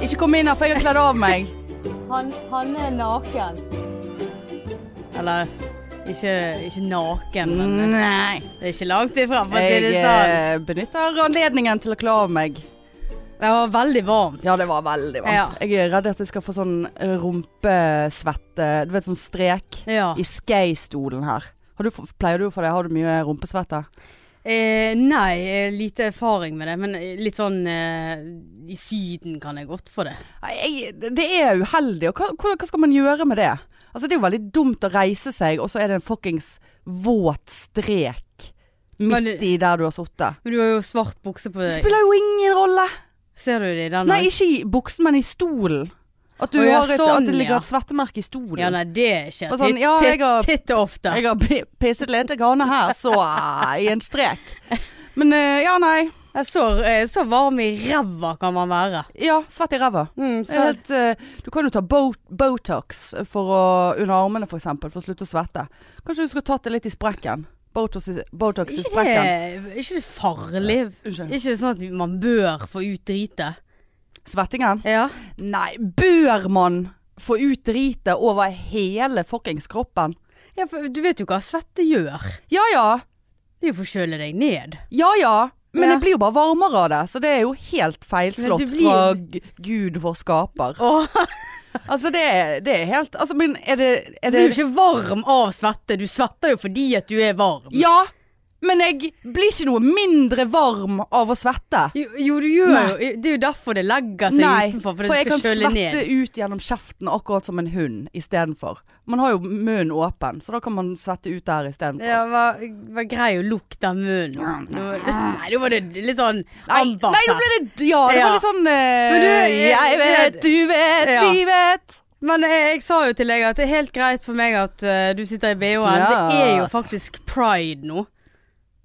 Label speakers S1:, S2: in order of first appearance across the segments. S1: ikke komme inn her, for jeg har kledd av meg.
S2: Han, han er naken.
S3: Eller ikke, ikke naken, men
S1: Nei.
S3: det er ikke langt ifra, for å si
S1: Mm. Jeg
S3: det sånn.
S1: eh, benytter anledningen til å kle av meg.
S3: Det var veldig varmt.
S1: Ja, det var veldig varmt. Jeg er redd at jeg skal få sånn rumpesvette Du vet sånn strek
S3: Ja.
S1: i skeistolen her. Har du, f- pleier du å få det? Har du mye rumpesvette?
S3: Eh, nei, eh, lite erfaring med det, men eh, litt sånn eh, I Syden kan jeg godt få det.
S1: Nei, Jeg, det er uheldig. Og hva, hvordan- hva skal man gjøre med det? Altså, det er jo veldig dumt å reise seg, og så er det en fuckings våt strek
S3: Men
S1: midt
S3: det-
S1: i der du har sittet.
S3: Men du har jo svart bukse på
S1: Det
S3: deg.
S1: spiller jo ingen rolle.
S3: Ser du det i den?
S1: Nei, ikke i buksen, men i stolen. At, du
S3: Å, ja,
S1: har et,
S3: sånn,
S1: at det ligger
S3: ja.
S1: et svettemerke i stolen.
S3: Ja, nei, det er ikke
S1: Bare sånn, ja,
S3: Titt-
S1: jeg har-
S3: Titt ofte.
S1: Jeg har pi- pisset lite grann her, så eh, i en strek. Men eh, ja, nei.
S3: Jeg Så, eh, så varm i ræva kan man være.
S1: Ja, svett i ræva.
S3: Mm,
S1: Det er helt, eh, Du kan jo ta bo Botox for å, under armene f.eks. For, eksempel, for å slutte å svette. Kanskje du skulle tatt det litt i sprekken. Botox i, botox i
S3: ikke,
S1: sprekken.
S3: det, ikke det farlig?
S1: Unnskyld.
S3: Ikke det sånn at man bør få ut dritet?
S1: Svettingen?
S3: Ja.
S1: Nei, bør man få ut dritet over hele fuckings kroppen?
S3: ja, for du vet jo hva svette gjør.
S1: Ja ja.
S3: Det er jo for å kjøle deg ned.
S1: Ja ja. Men
S3: Ja.
S1: det blir jo bare varmere av det, så det er jo helt feilslått
S3: Men det blir-
S1: fra g- Gud vår skaper.
S3: Åh,
S1: Altså det, er- det er helt altså, Men er det, er
S3: du er jo
S1: det
S3: ikke varm av svette. Du svetter jo fordi at du er varm.
S1: Ja, men jeg blir ikke noe mindre varm av å svette.
S3: Jo, jo du gjør
S1: Nei.
S3: jo Det er jo derfor det legger seg
S1: Nei,
S3: utenfor.
S1: for
S3: at det
S1: jeg kan
S3: skal kjøle
S1: svette
S3: ned.
S1: ut gjennom kjeften akkurat som en hund istedenfor. Man har jo munnen åpen, så da kan man svette ut der istedenfor.
S3: Ja, var, var grei å lukte av munnen. Nå- Nei, nå var det litt sånn
S1: Nei,
S3: anbart
S1: nei,
S3: her.
S1: nå ble det Ja, det var
S3: Ja.
S1: litt sånn
S3: Men
S1: Men
S3: du,
S1: Jeg vet, du vet,
S3: Ja.
S1: vi vet.
S3: Men jeg, jeg sa jo til deg at det er helt greit for meg at eh, du sitter i BH-en. Det er
S1: Ja.
S3: jo faktisk pride nå.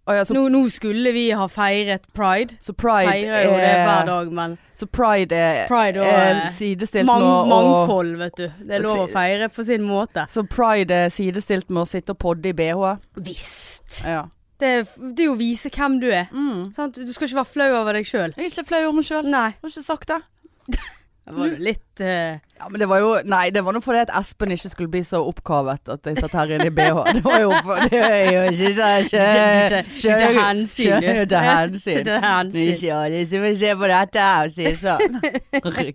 S1: Å ja, så,
S3: nå. Nå skulle vi ha feiret pride.
S1: så pride
S3: Feirer jo det hver
S1: er
S3: dag, men
S1: Så pride er,
S3: Pride og,
S1: er
S3: eh,
S1: sidestilt
S3: mang,
S1: med å- å-
S3: mangfold, vet du. Det er lov å
S1: Si-
S3: feire på sin måte.
S1: Så pride er sidestilt med å sitte og podde i bh?
S3: Visst.
S1: Ja.
S3: Det, er f- det er jo å vise hvem du er.
S1: Mm.
S3: Sant? Du skal ikke være flau over deg sjøl.
S1: Jeg er ikke flau over meg sjøl.
S3: Nei.
S1: Har ikke sagt det.
S3: Det var jo litt eh,
S1: Ja, men det var jo Nei, det var nå fordi at Espen ikke skulle bli så oppkavet at jeg satt her inne i bh. Det var jo for Det er jo ikke så
S3: Det
S1: skjø- skjø-
S3: er hensyn, du.
S1: skjø- Det er
S3: Det
S1: hensyn.
S3: er
S1: Det er
S3: hensyn.
S1: ikke alle som vil se på dette her, sier sånn.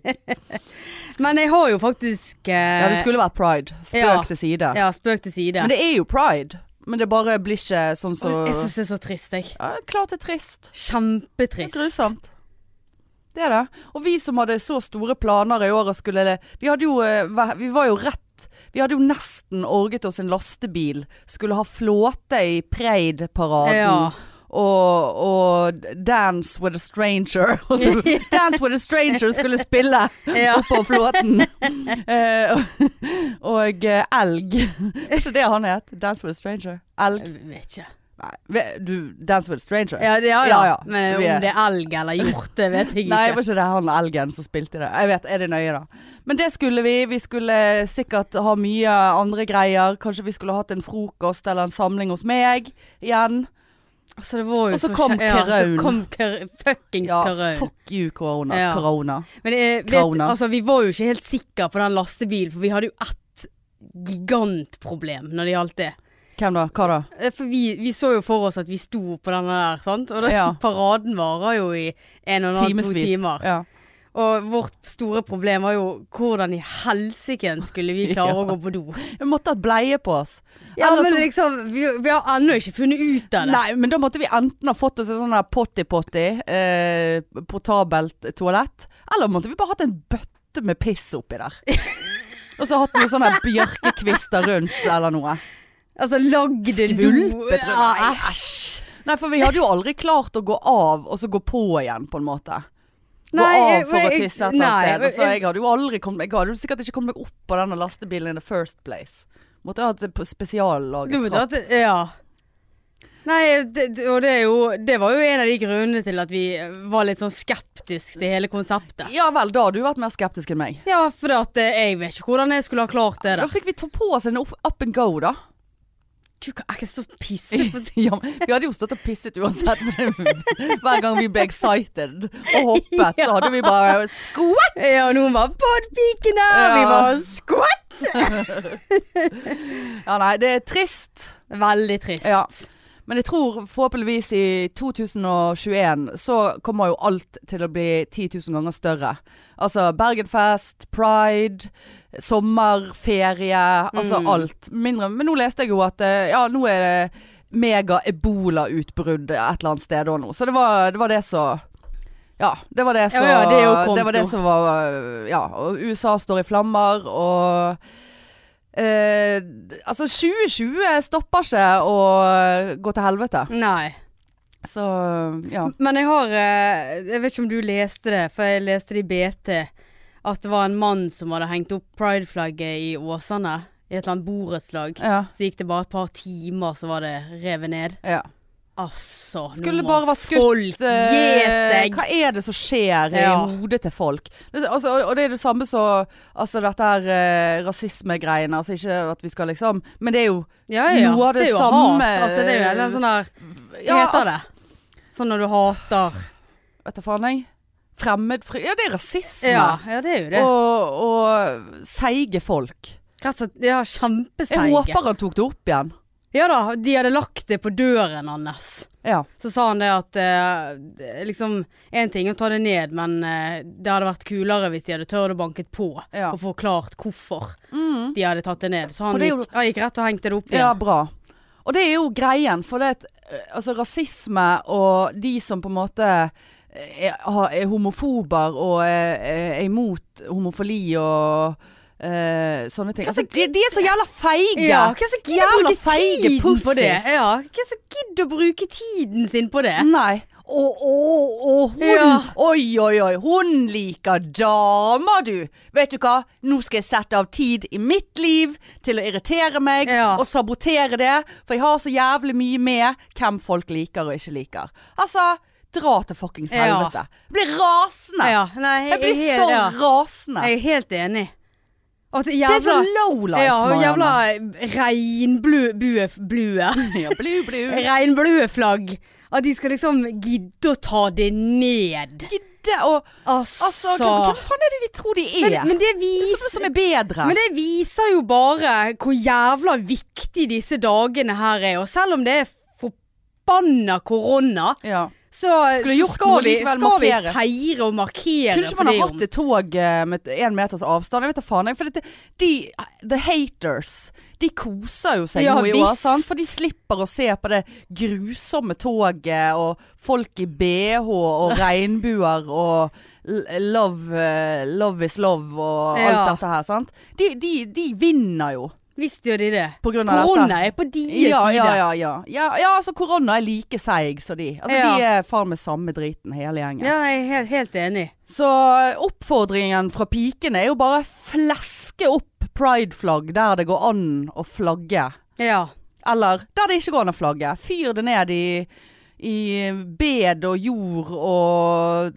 S3: Men jeg har jo faktisk eh,
S1: Ja, det skulle vært pride. Spøk
S3: Ja.
S1: til side.
S3: ja, spøk til side.
S1: Men det er jo pride. Men det bare blir ikke sånn som
S3: Jeg syns det er så trist, jeg.
S1: ja, Klart det er trist. Det er
S3: Kjempetrist.
S1: grusomt. Det er det. Og vi som hadde så store planer i år og skulle Vi hadde jo eh, væ- Vi var jo rett Vi hadde jo nesten orget oss en lastebil. Skulle ha flåte i Preid-paraden.
S3: Ja.
S1: Og, og Dance with a Stranger. Dance with a Stranger skulle spille
S3: Ja.
S1: oppå flåten. Eh, og- og eh, elg. Er ikke det han het? Dance with a Stranger. Elg.
S3: Jeg vet ikke.
S1: Nei, ve- du Dance with a Stranger.
S3: Ja, det, ja, ja.
S1: Ja, ja.
S3: Men om
S1: Vi er-
S3: det er elg eller hjort, det vet jeg ikke.
S1: Nei, det var ikke det han elgen som spilte det. Jeg vet, er det nøye da? Men det skulle vi. Vi skulle sikkert ha mye andre greier. Kanskje vi skulle hatt en frokost eller en samling hos meg igjen.
S3: altså, det var jo
S1: Og så
S3: så
S1: kom
S3: skje- ja,
S1: karaun.
S3: Så kom kar fuckings
S1: Ja,
S3: karaun.
S1: fuck you, korona.
S3: Ja.
S1: Korona.
S3: Men eh, vet,
S1: Krauna.
S3: altså, vi var jo ikke helt sikre på den lastebilen, for vi hadde jo ett gigantproblem når det gjaldt det.
S1: Hvem da? Hva da?
S3: Eh, For vi, vi så jo for oss at vi sto på denne der, sant? Og da,
S1: Ja.
S3: paraden varer jo i en og en halv, to
S1: Timevis.
S3: timer.
S1: Ja.
S3: Og vårt store problem var jo hvordan i helsiken skulle vi klare
S1: Ja.
S3: å gå på do?
S1: Vi måtte hatt bleie på oss.
S3: Ja,
S1: Ellers
S3: men
S1: så-
S3: liksom, vi, vi har ennå ikke funnet ut av det.
S1: Nei, men da måtte vi enten ha fått oss en sånn der potty-potty, eh, portabelt toalett, eller måtte vi bare hatt en bøtte med piss oppi der. Og så hatt noen sånne bjørkekvister rundt eller noe.
S3: Altså, lagd en do
S1: Skvulpet rundt.
S3: Ja,
S1: Nei, æsj. Nei, for vi hadde jo aldri klart å gå av og så gå på igjen, på en måte. Gå
S3: Nei, jeg-
S1: av for å
S3: jeg-
S1: tisse et eller
S3: nei,
S1: annet sted. Så
S3: jeg-
S1: jeg hadde jo aldri kommet Jeg hadde jo sikkert ikke kommet meg opp på denne lastebilen in the first place. Måtte ha hatt et
S3: Du
S1: spesiallaget
S3: vet at, ja. Nei, det, det- og det er jo Det var jo en av de grunnene til at vi var litt sånn skeptisk til hele konseptet.
S1: Ja vel, da har du vært mer skeptisk enn meg.
S3: Ja, for at eh, jeg vet ikke hvordan jeg skulle ha klart det
S1: Da
S3: der.
S1: fikk vi ta på oss en opp- up and go, da.
S3: Gud, hva- jeg kan stå og pisse på
S1: ja, men vi hadde jo stått og pisset uansett. Hver gang vi ble excited og hoppet, så hadde vi bare Squat!
S3: Ja, og noen var badpikene,
S1: Ja.
S3: og vi var squat!
S1: Ja, nei, det er trist.
S3: Veldig trist.
S1: Ja. Men jeg tror forhåpentligvis i 2021 så kommer jo alt til å bli 10 000 ganger større. Altså Bergenfest, Pride, sommerferie,
S3: Mm.
S1: altså alt. Mindre, men nå leste jeg jo at eh, ja, nå er det mega-ebola-utbrudd et eller annet sted og nå. Så det var det, var det som ja, det var det som
S3: ja, det er jo kommet
S1: det var det
S3: nå.
S1: som var Ja, og USA står i flammer, og Eh, altså 2020 stopper ikke å gå til helvete.
S3: Nei.
S1: Så ja.
S3: Men jeg har eh, Jeg vet ikke om du leste det, for jeg leste det i BT. At det var en mann som hadde hengt opp prideflagget i Åsane. I et eller annet borettslag.
S1: ja,
S3: Så gikk det bare et par timer, så var det revet ned.
S1: ja.
S3: Altså,
S1: Skulle
S3: nå må
S1: bare vært skutt.
S3: folk gi
S1: eh,
S3: seg!
S1: hva er det som skjer
S3: Ja.
S1: i hodet til folk? Det, altså, og, og det er det samme som altså, dette her eh, rasismegreiene. Altså ikke at vi skal liksom Men det er jo
S3: Ja, ja, ja.
S1: noe av det
S3: er jo
S1: samme-
S3: Hat. Altså, det er jo en eller annen sånn der Hva
S1: Ja, altså-
S3: heter det? Sånn når du hater
S1: Vet du faen, jeg. Fremmedfrykt Ja, det er rasisme.
S3: ja, ja, det er jo det.
S1: Og, og seige folk.
S3: Rett og slett. Ja,
S1: Jeg
S3: kjempeseige.
S1: håper han tok det opp igjen.
S3: Ja da, de hadde lagt det på døren hans.
S1: Ja.
S3: Så sa han det at eh, det- liksom En ting er å ta det ned, men eh, det hadde vært kulere hvis de hadde tørt å banket på
S1: Ja.
S3: og forklart hvorfor
S1: Mm.
S3: de hadde tatt det ned. Så
S1: Og
S3: han,
S1: det er
S3: gikk, han gikk rett og hengte det opp
S1: Ja,
S3: igjen.
S1: bra. Og det er jo greien, for det at eh, altså, rasisme og de som på en måte eh, er, har- er homofober og er, er- er imot homofili og eh, sånne ting. Altså, de, de er så jævla feige!
S3: hva som gidder å
S1: Jævla
S3: bruke
S1: feige
S3: tiden på det?
S1: pussies.
S3: Ja, hva som gidder å bruke tiden sin på det?
S1: Nei. Og, og, og hun
S3: Eh? Ja.
S1: Oi, oi, oi. Hun liker damer, du. Vet du hva? Nå skal jeg sette av tid i mitt liv til å irritere meg
S3: Ja.
S1: og sabotere det. For jeg har så jævlig mye med hvem folk liker og ikke liker. Altså, dra til fuckings
S3: Ja.
S1: helvete. Jeg blir rasende.
S3: Ja, nei, jeg,
S1: Jeg blir
S3: er
S1: så
S3: helt- ja.
S1: rasende.
S3: Jeg er helt enig. At
S1: det er så
S3: jævla
S1: low life,
S3: ja, og jævla
S1: Marianne.
S3: regnblue bue, blue.
S1: Ja, blu, blu.
S3: Regnblue flagg. At de skal liksom gidde å ta det ned.
S1: Gidde og
S3: Altså,
S1: Altså, hvem faen er det de tror de er?
S3: men, men, det
S1: det er
S3: viser,
S1: sånne som er bedre.
S3: men det viser jo bare hvor jævla viktig disse dagene her er. Og selv om det er forbanna korona,
S1: ja.
S3: så,
S1: Skulle
S3: så
S1: gjort
S3: skal,
S1: noe
S3: vi,
S1: likevel,
S3: skal vi
S1: markere.
S3: feire og markere
S1: Kunne ikke man ha hatt et tog eh, med én meters avstand? Jeg vet da faen. jeg, For dette, de, the haters, de koser jo seg
S3: Ja,
S1: nå i år,
S3: visst.
S1: sant? For de slipper å se på det grusomme toget og folk i bh og regnbuer og l- love, eh, love is love og alt
S3: Ja.
S1: dette her, sant? De, de, de vinner jo
S3: Visste jo de det?
S1: på grunn av dette.
S3: Korona er på deres
S1: Ja,
S3: side.
S1: ja, ja, ja. ja, ja altså korona er like seig som de. Altså,
S3: Ja.
S1: De er faen meg samme driten hele gjengen.
S3: Ja, nei, jeg er helt, helt enig.
S1: Så eh, oppfordringen fra pikene er jo bare fleske opp prideflagg der det går an å flagge.
S3: Ja.
S1: Eller der det ikke går an å flagge. Fyr det ned i, i bed og jord og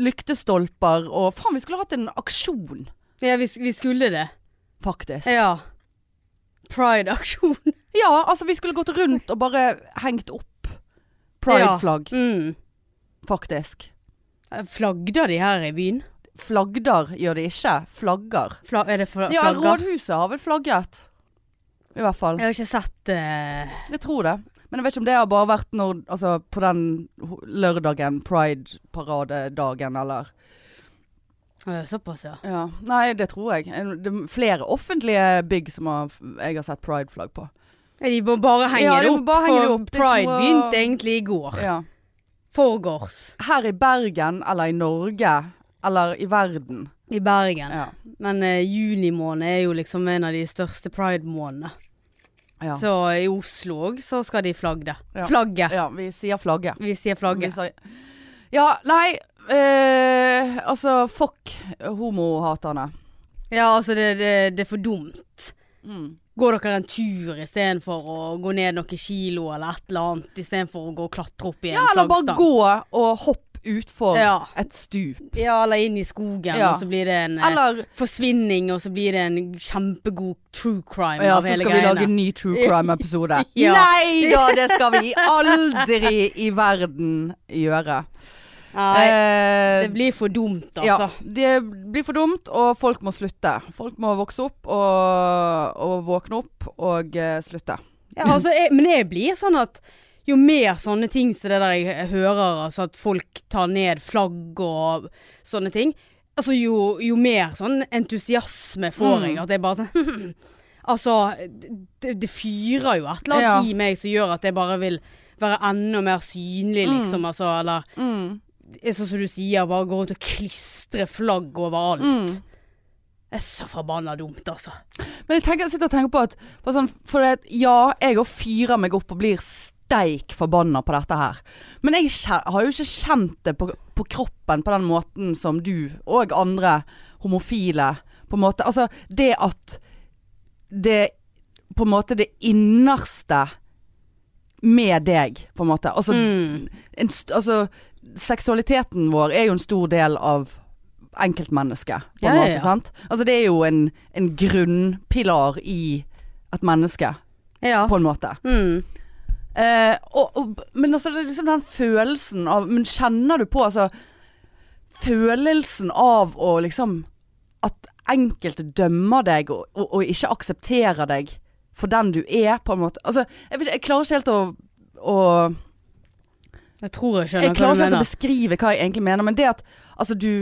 S1: lyktestolper og Faen, vi skulle hatt en aksjon,
S3: ja vi, vi skulle det.
S1: faktisk.
S3: Ja. Pride-aksjon.
S1: Ja, altså vi skulle gått rundt og bare hengt opp prideflagg,
S3: Mm.
S1: faktisk.
S3: Flagder Eh, de her i byen?
S1: Flagder gjør det ikke. Flagger.
S3: Fla er det fla
S1: Ja,
S3: flagger?
S1: rådhuset har vel flagget. I hvert fall.
S3: Jeg har ikke sett eh,
S1: Jeg tror det. Men jeg vet ikke om det har bare vært når, altså, på den ho- lørdagen, pride-paradedagen, eller
S3: eh, Såpass, ja.
S1: ja. Nei, det tror jeg. En- Det er flere offentlige bygg som har, jeg har sett pride-flagg på.
S3: Ja, De må bare henge
S1: Ja, de
S3: det
S1: må
S3: opp,
S1: bare henge det
S3: for
S1: opp. Det er
S3: Pride
S1: ikke noe-
S3: begynte egentlig i går.
S1: Ja.
S3: Forgårs.
S1: Her i Bergen, eller i Norge, eller i verden.
S3: I Bergen.
S1: Ja.
S3: Men eh, juni måned er jo liksom en av de største pride-månedene.
S1: Ja,
S3: Så i Oslo òg så skal de flagge.
S1: Ja.
S3: Flagget.
S1: ja vi sier flagget.
S3: Vi sier flagget.
S1: Vi sier- Ja, nei eh, Altså, fuck homohaterne.
S3: Ja, altså det, det, det er for dumt.
S1: Mm.
S3: Går dere en tur istedenfor å gå ned noen kilo eller et eller annet, istedenfor å gå og klatre opp i en
S1: Ja, eller bare
S3: flaggstang?
S1: gå og hopp utfor
S3: Ja.
S1: et stup.
S3: Ja, eller inn i skogen,
S1: Ja.
S3: og så blir det en eh,
S1: Eller
S3: forsvinning, og så blir det en kjempegod true crime
S1: ja,
S3: av
S1: så
S3: hele
S1: skal vi lage en
S3: greiene.
S1: ny true crime-episode.
S3: Ja.
S1: Nei da, det skal vi aldri i verden gjøre.
S3: Nei,
S1: Eh,
S3: det blir for dumt, altså.
S1: Ja, det blir for dumt, og folk må slutte. Folk må vokse opp og, og våkne opp og eh, slutte.
S3: Ja, altså, jeg, men jeg blir sånn at jo mer sånne ting som det der jeg hører, altså at folk tar ned flagg og sånne ting, altså jo, jo mer sånn entusiasme får
S1: Mm.
S3: jeg. At jeg bare sånn Altså, det, det fyrer jo et eller annet
S1: Ja.
S3: i meg som gjør at jeg bare vil være enda mer synlig,
S1: Mm.
S3: liksom. Altså, eller det er sånn som du sier, bare gå rundt og klistre flagg overalt.
S1: Mm.
S3: Det er så forbanna dumt, altså.
S1: Men jeg, tenker, jeg sitter og tenker på at på sånn, For det, at, ja, jeg òg fyrer meg opp og blir steik forbanna på dette her. Men jeg kje- har jo ikke kjent det på, på kroppen på den måten som du og andre homofile på en måte Altså det at det på en måte det innerste med deg, på en måte. Altså,
S3: Mm.
S1: en, st- altså seksualiteten vår er jo en stor del av enkeltmennesket, på en
S3: Ja, ja,
S1: måte.
S3: ja.
S1: Sant? Altså det er jo en, en grunnpilar i et menneske,
S3: Ja.
S1: på en måte.
S3: Mm.
S1: Eh, og, og, men altså, det er liksom den følelsen av Men kjenner du på altså Følelsen av å liksom At enkelte dømmer deg og, og, og ikke aksepterer deg for den du er, på en måte. Altså, jeg, vet ikke, jeg klarer ikke helt å, å
S3: Jeg tror jeg
S1: Jeg
S3: skjønner hva du
S1: klarer ikke helt å
S3: mener.
S1: beskrive hva jeg egentlig mener, men det at altså du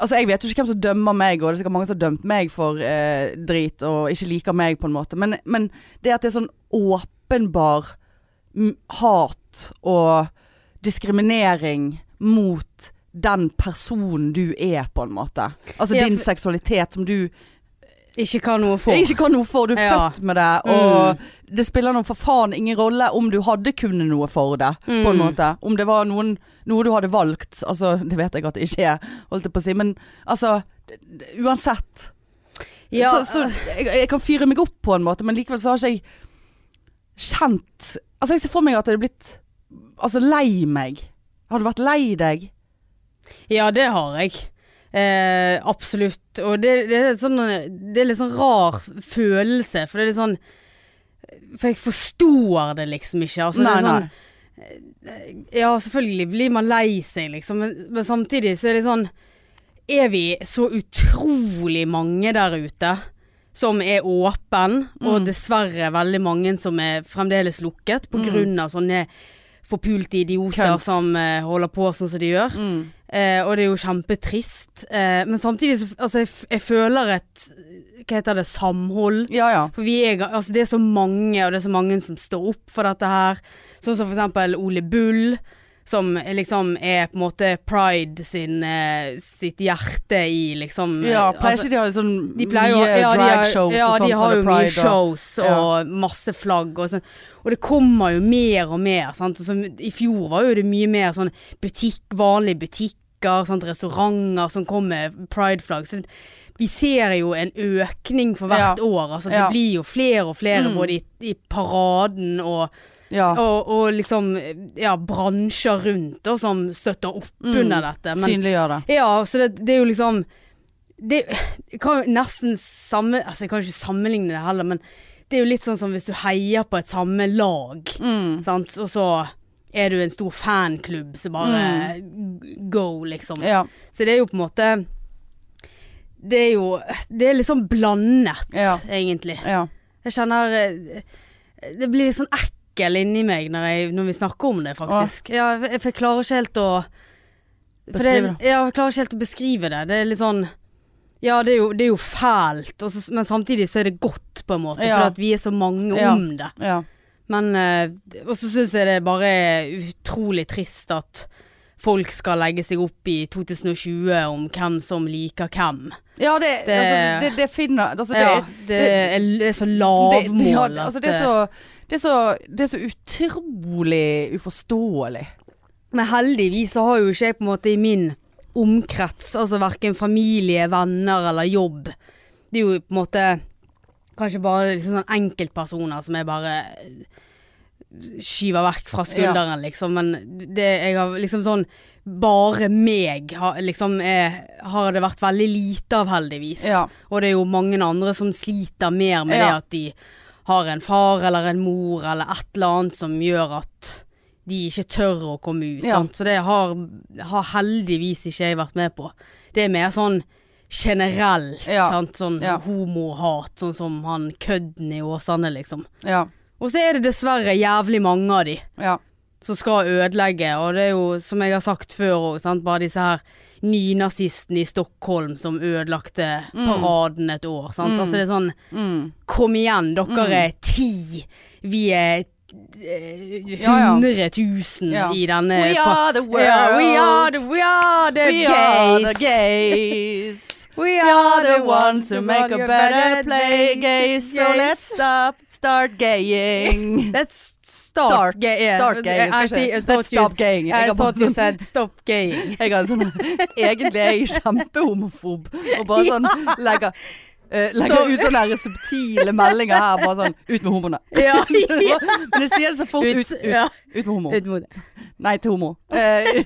S1: Altså Jeg vet jo ikke hvem som dømmer meg, og det er sikkert mange som har dømt meg for eh, drit og ikke liker meg, på en måte. Men, men det at det er sånn åpenbar mm, hat og diskriminering mot den personen du er, på en måte. Altså
S3: Ja,
S1: din
S3: for-
S1: seksualitet som du
S3: Ikke hva noe for.
S1: ikke kan noe for. Du er
S3: Ja. Mm.
S1: født med det, og det spiller noe for faen ingen rolle om du hadde kunnet noe for det, på en
S3: Mm.
S1: måte. Om det var noen, noe du hadde valgt. Altså, det vet jeg at det ikke er, holdt jeg på å si, men altså d- d- Uansett.
S3: Ja, eh.
S1: så, så jeg, jeg kan fyre meg opp på en måte, men likevel så har ikke jeg kjent Altså, jeg ser for meg at jeg hadde blitt Altså lei meg. Har du vært lei deg?
S3: ja, det har jeg. Eh, absolutt. Og det, det, er sånn, det er litt sånn rar følelse, for det er litt sånn For jeg forstår det liksom ikke. Altså, det er sånn, Ja, selvfølgelig blir man lei seg, liksom, men, men samtidig så er det sånn Er vi så utrolig mange der ute som er åpen, og dessverre veldig mange som er fremdeles lukket på grunn av sånne forpulte idioter
S1: Kønt.
S3: som eh, holder på sånn som de
S1: Mm.
S3: gjør. Eh, og det er jo kjempetrist. Eh, men samtidig så altså, jeg, f- jeg føler et Hva heter det? Samhold.
S1: Ja ja.
S3: For vi er, ga- altså det er så mange, og det er så mange som står opp for dette her. Sånn som for eksempel Ole Bull, som liksom er på en måte Pride sin, eh, sitt hjerte i liksom
S1: ja
S3: eh,
S1: pleier
S3: altså,
S1: ikke de å ha sånn
S3: de pleier jo ja,
S1: mye
S3: de har-
S1: dragshows
S3: ja,
S1: og sånt?
S3: de har jo
S1: når det er
S3: mye
S1: Pride og-
S3: shows og
S1: ja.
S3: masse flagg og sånn. Og det kommer jo mer og mer. Sant? Og som- I fjor var jo det mye mer sånn butikk, vanlige butikker, sant? restauranter som kom med prideflagg. Så vi ser jo en økning for hvert
S1: Ja.
S3: år. Altså, det
S1: Ja.
S3: blir jo flere og flere
S1: Mm.
S3: både i, i paraden og
S1: Ja.
S3: og, og liksom ja, bransjer rundt da, som støtter opp
S1: Mm.
S3: under dette. Men,
S1: Synliggjør det.
S3: ja, så det, det er jo liksom Det jeg kan jo nesten samme Altså, jeg kan jo ikke sammenligne det heller, men det er jo litt sånn som hvis du heier på et samme lag,
S1: Mm.
S3: sant, og så er du en stor fanklubb som bare go, liksom.
S1: Mm. Ja.
S3: Så det er jo på en måte Det er jo Det er litt sånn blandet,
S1: Ja.
S3: egentlig.
S1: ja.
S3: Jeg kjenner eh, Det blir litt sånn ekkel inni meg når, jeg, når vi snakker om det, faktisk. Ja, jeg, for jeg klarer ikke helt å for det,
S1: Beskrive det.
S3: ja, jeg klarer ikke helt å beskrive det. Det er litt sånn Ja, det er jo, det er jo fælt, og så, men samtidig så er det godt, på en måte.
S1: Ja.
S3: For at vi er så mange
S1: Ja.
S3: om det.
S1: ja.
S3: Men eh, Og så syns jeg det er bare utrolig trist at folk skal legge seg opp i 2020 om hvem som liker hvem.
S1: Ja, det,
S3: Det-
S1: altså, det, det finner altså, det,
S3: ja, det, er, det er så lavmål
S1: det- det- ja, altså,
S3: at
S1: det, er så, det, er så, det er så utrolig uforståelig.
S3: Men heldigvis så har jo ikke jeg på en måte i min omkrets, altså verken familie, venner eller jobb. Det er jo på en måte kanskje bare liksom sånn enkeltpersoner som jeg bare skyver vekk fra skulderen, liksom. Men det, jeg har liksom sånn bare meg har, liksom, er, har det vært veldig lite av, heldigvis.
S1: Ja.
S3: Og det er jo mange andre som sliter mer med det
S1: Ja.
S3: at de har en far eller en mor eller et eller annet som gjør at de ikke tør å komme ut.
S1: Ja.
S3: Sant? Så det har, har heldigvis ikke jeg vært med på. Det er mer sånn generelt,
S1: Ja.
S3: sant? sånn
S1: Ja.
S3: homohat, sånn som han kødden i Åsane, liksom.
S1: Ja.
S3: Og så er det dessverre jævlig mange av de
S1: Ja.
S3: som skal ødelegge, og det er jo, som jeg har sagt før òg, sant, bare disse her nynazistene i Stockholm som ødelagte paraden et år, sant. Altså det er sånn,
S1: Mm.
S3: kom igjen, dere er ti, vi er eh,
S1: Ja, ja.
S3: hundre tusen
S1: Ja.
S3: i denne
S1: Eh, We
S3: pa-
S1: are the world.
S3: Ja, we are the, we are the
S1: We
S3: gays.
S1: are the gays.
S3: We
S1: We are the ones who make a better play gays. So
S3: Gays.
S1: let's stop, start gaying.
S3: Let's start,
S1: Start.
S3: gay- yeah.
S1: Start gaying.
S3: I,
S1: Skal
S3: think- I
S1: ikke-
S3: thought
S1: Let's
S3: you-
S1: stop gaying. Jeg
S3: I
S1: har sånn-
S3: thought you
S1: bare-
S3: said stop gaying.
S1: Jeg har en sånn Egentlig er jeg kjempehomofob. Og bare sånn legger, eh, legger
S3: Stop.
S1: ut sånne her subtile meldinger her. Bare sånn Ut med homoene.
S3: Ja.
S1: Men jeg sier det så fort. Ut, ut,
S3: ja.
S1: ut med homo.
S3: Ut mot
S1: Nei, til homo. Eh,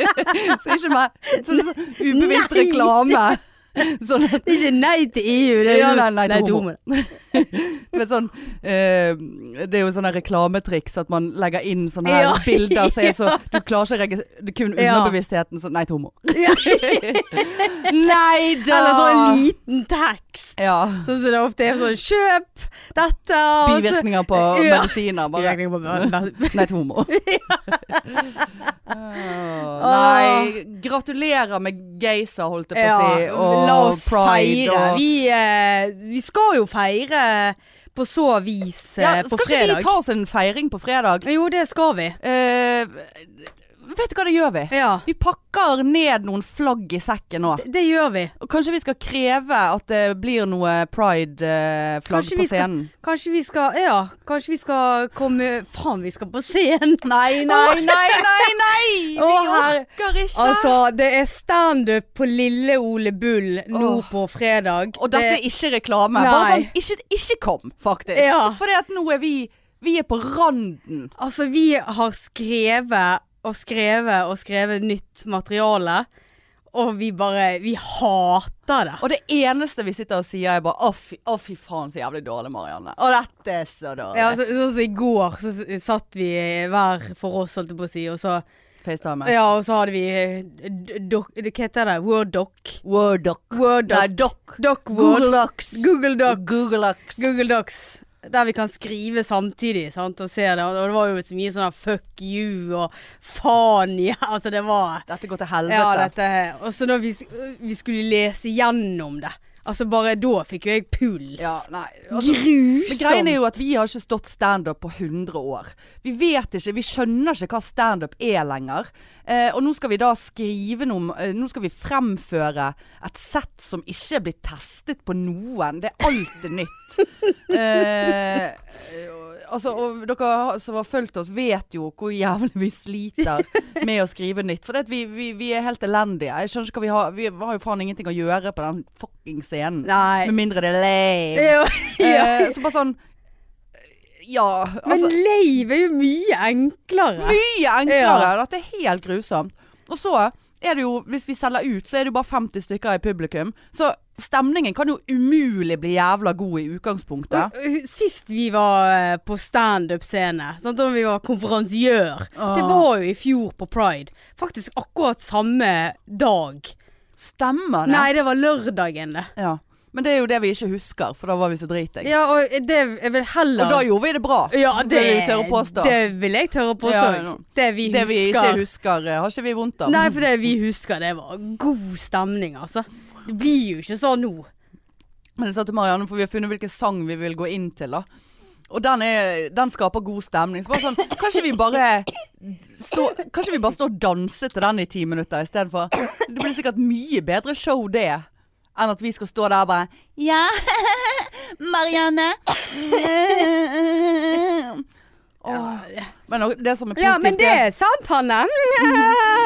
S1: så ikke meg. Sånn så, ubevisst
S3: Nei.
S1: reklame. Sånn at
S3: Det er ikke nei til EU, det er
S1: Ja,
S3: jo-
S1: nei, nei, til homo.
S3: homo.
S1: Men sånn, eh, det er jo sånne reklametriks at man legger inn sånne her
S3: Ja.
S1: bilder som er så Du klarer ikke å registrere Kun
S3: Ja.
S1: underbevisstheten så Nei, til homo.
S3: Ja.
S1: Nei da!
S3: Eller sånn liten tekst.
S1: ja.
S3: Sånn som det ofte er sånn Kjøp dette. og så-
S1: Bivirkninger på
S3: Ja.
S1: medisiner, bare.
S3: Bivirkninger på bare-
S1: Nei, til homo. Åh, nei, gratulerer med geyser, holdt jeg på å si. Og
S3: la oss
S1: pride
S3: feire.
S1: og-
S3: Vi, eh, vi skal jo feire på så vis eh,
S1: ja,
S3: på
S1: skal ikke
S3: fredag.
S1: vi ta oss en feiring på fredag?
S3: Jo, det skal vi.
S1: Eh, vet du hva, det gjør vi.
S3: Ja,
S1: Vi pakker ned noen flagg i sekken nå.
S3: det gjør vi.
S1: Og kanskje vi skal kreve at det blir noe pride-flagg
S3: Kanskje
S1: på
S3: vi skal-
S1: scenen.
S3: Kanskje vi skal Ja, kanskje vi skal komme Faen, vi skal på scenen.
S1: Nei, nei, nei, nei! nei. Vi
S3: Å, her-
S1: orker ikke!
S3: Altså, det er standup på Lille Ole Bull nå
S1: Åh.
S3: på fredag.
S1: og dette er ikke reklame.
S3: Nei.
S1: Bare sånn, ikke, ikke kom, faktisk.
S3: Ja.
S1: For at nå er vi Vi er på randen.
S3: Altså, vi har skrevet og skrevet og skrevet nytt materiale, og vi bare Vi hater det.
S1: Og det eneste vi sitter og sier, er bare Å, fy, å, fy faen, så jævlig dårlig, Marianne. Å, dette er så dårlig.
S3: Ja, så, sånn som i går, så s- satt vi hver for oss, holdt jeg på å si, og så
S1: FaceTime.
S3: Ja, og så hadde vi eh, d- doc, Hva heter det? Word doc?
S1: Word doc.
S3: Word doc.
S1: Nei, doc.
S3: Doc
S1: Google
S3: word.
S1: docs.
S3: Google doc.
S1: Google docs.
S3: Google Docs. Der vi kan skrive samtidig sant, og se det. Og det var jo så mye sånn her fuck you og faen ja. Altså det var
S1: Dette går til helvete.
S3: Ja, dette Og så når vi, vi skulle lese gjennom det. Altså bare da fikk jo jeg puls.
S1: Ja, nei. altså- Men greien
S3: Grusomt.
S1: er jo at vi har ikke stått standup på 100 år. Vi vet ikke, vi skjønner ikke hva standup er lenger. Eh, og nå skal vi da skrive noe om eh, Nå skal vi fremføre et sett som ikke er blitt testet på noen. Det er alltid nytt. Eh, altså, og dere har- som har fulgt oss, vet jo hvor jævlig vi sliter med å skrive nytt. For det at vi, vi, vi er helt elendige. Jeg skjønner ikke hva vi har Vi har jo faen ingenting å gjøre på den fucking scenen.
S3: Nei.
S1: Med mindre det er lame.
S3: Ja, ja.
S1: Eh, så bare sånn Ja,
S3: Men
S1: altså
S3: leiv er jo mye enklere.
S1: Mye enklere!
S3: Ja.
S1: Dette er helt grusomt. Og så er det jo, hvis vi selger ut, så er det jo bare 50 stykker i publikum. Så stemningen kan jo umulig bli jævla god i utgangspunktet.
S3: Og, uh, Sist vi var eh, på standup-scene, sant, da vi var konferansiør, det
S1: Ah.
S3: var jo i fjor på Pride. Faktisk akkurat samme dag.
S1: Stemmer det?
S3: Nei, det var lørdagen, det.
S1: Ja. Men det er jo det vi ikke husker, for da var vi så dritings.
S3: Ja, og det er vel heller
S1: Og da gjorde vi det bra.
S3: ja, det,
S1: vil du tørre å påstå.
S3: Det vil jeg tørre å påstå.
S1: Ja, ja.
S3: Det vi husker.
S1: Det vi ikke husker, eh, har ikke vi vondt av.
S3: Nei, for det vi husker, det var god stemning, altså. Det blir jo ikke sånn nå.
S1: Men jeg sa til Marianne, for vi har funnet hvilken sang vi vil gå inn til da. Og den, er, den skaper god stemning. Så bare sånn, kanskje vi bare stå, Kanskje vi bare står og danser til den i ti minutter istedenfor. Det blir sikkert mye bedre show det, enn at vi skal stå der og bare Ja, Marianne. Åh. Men det som er positivt,
S3: Ja, men det Mhm. er sant, Hanne.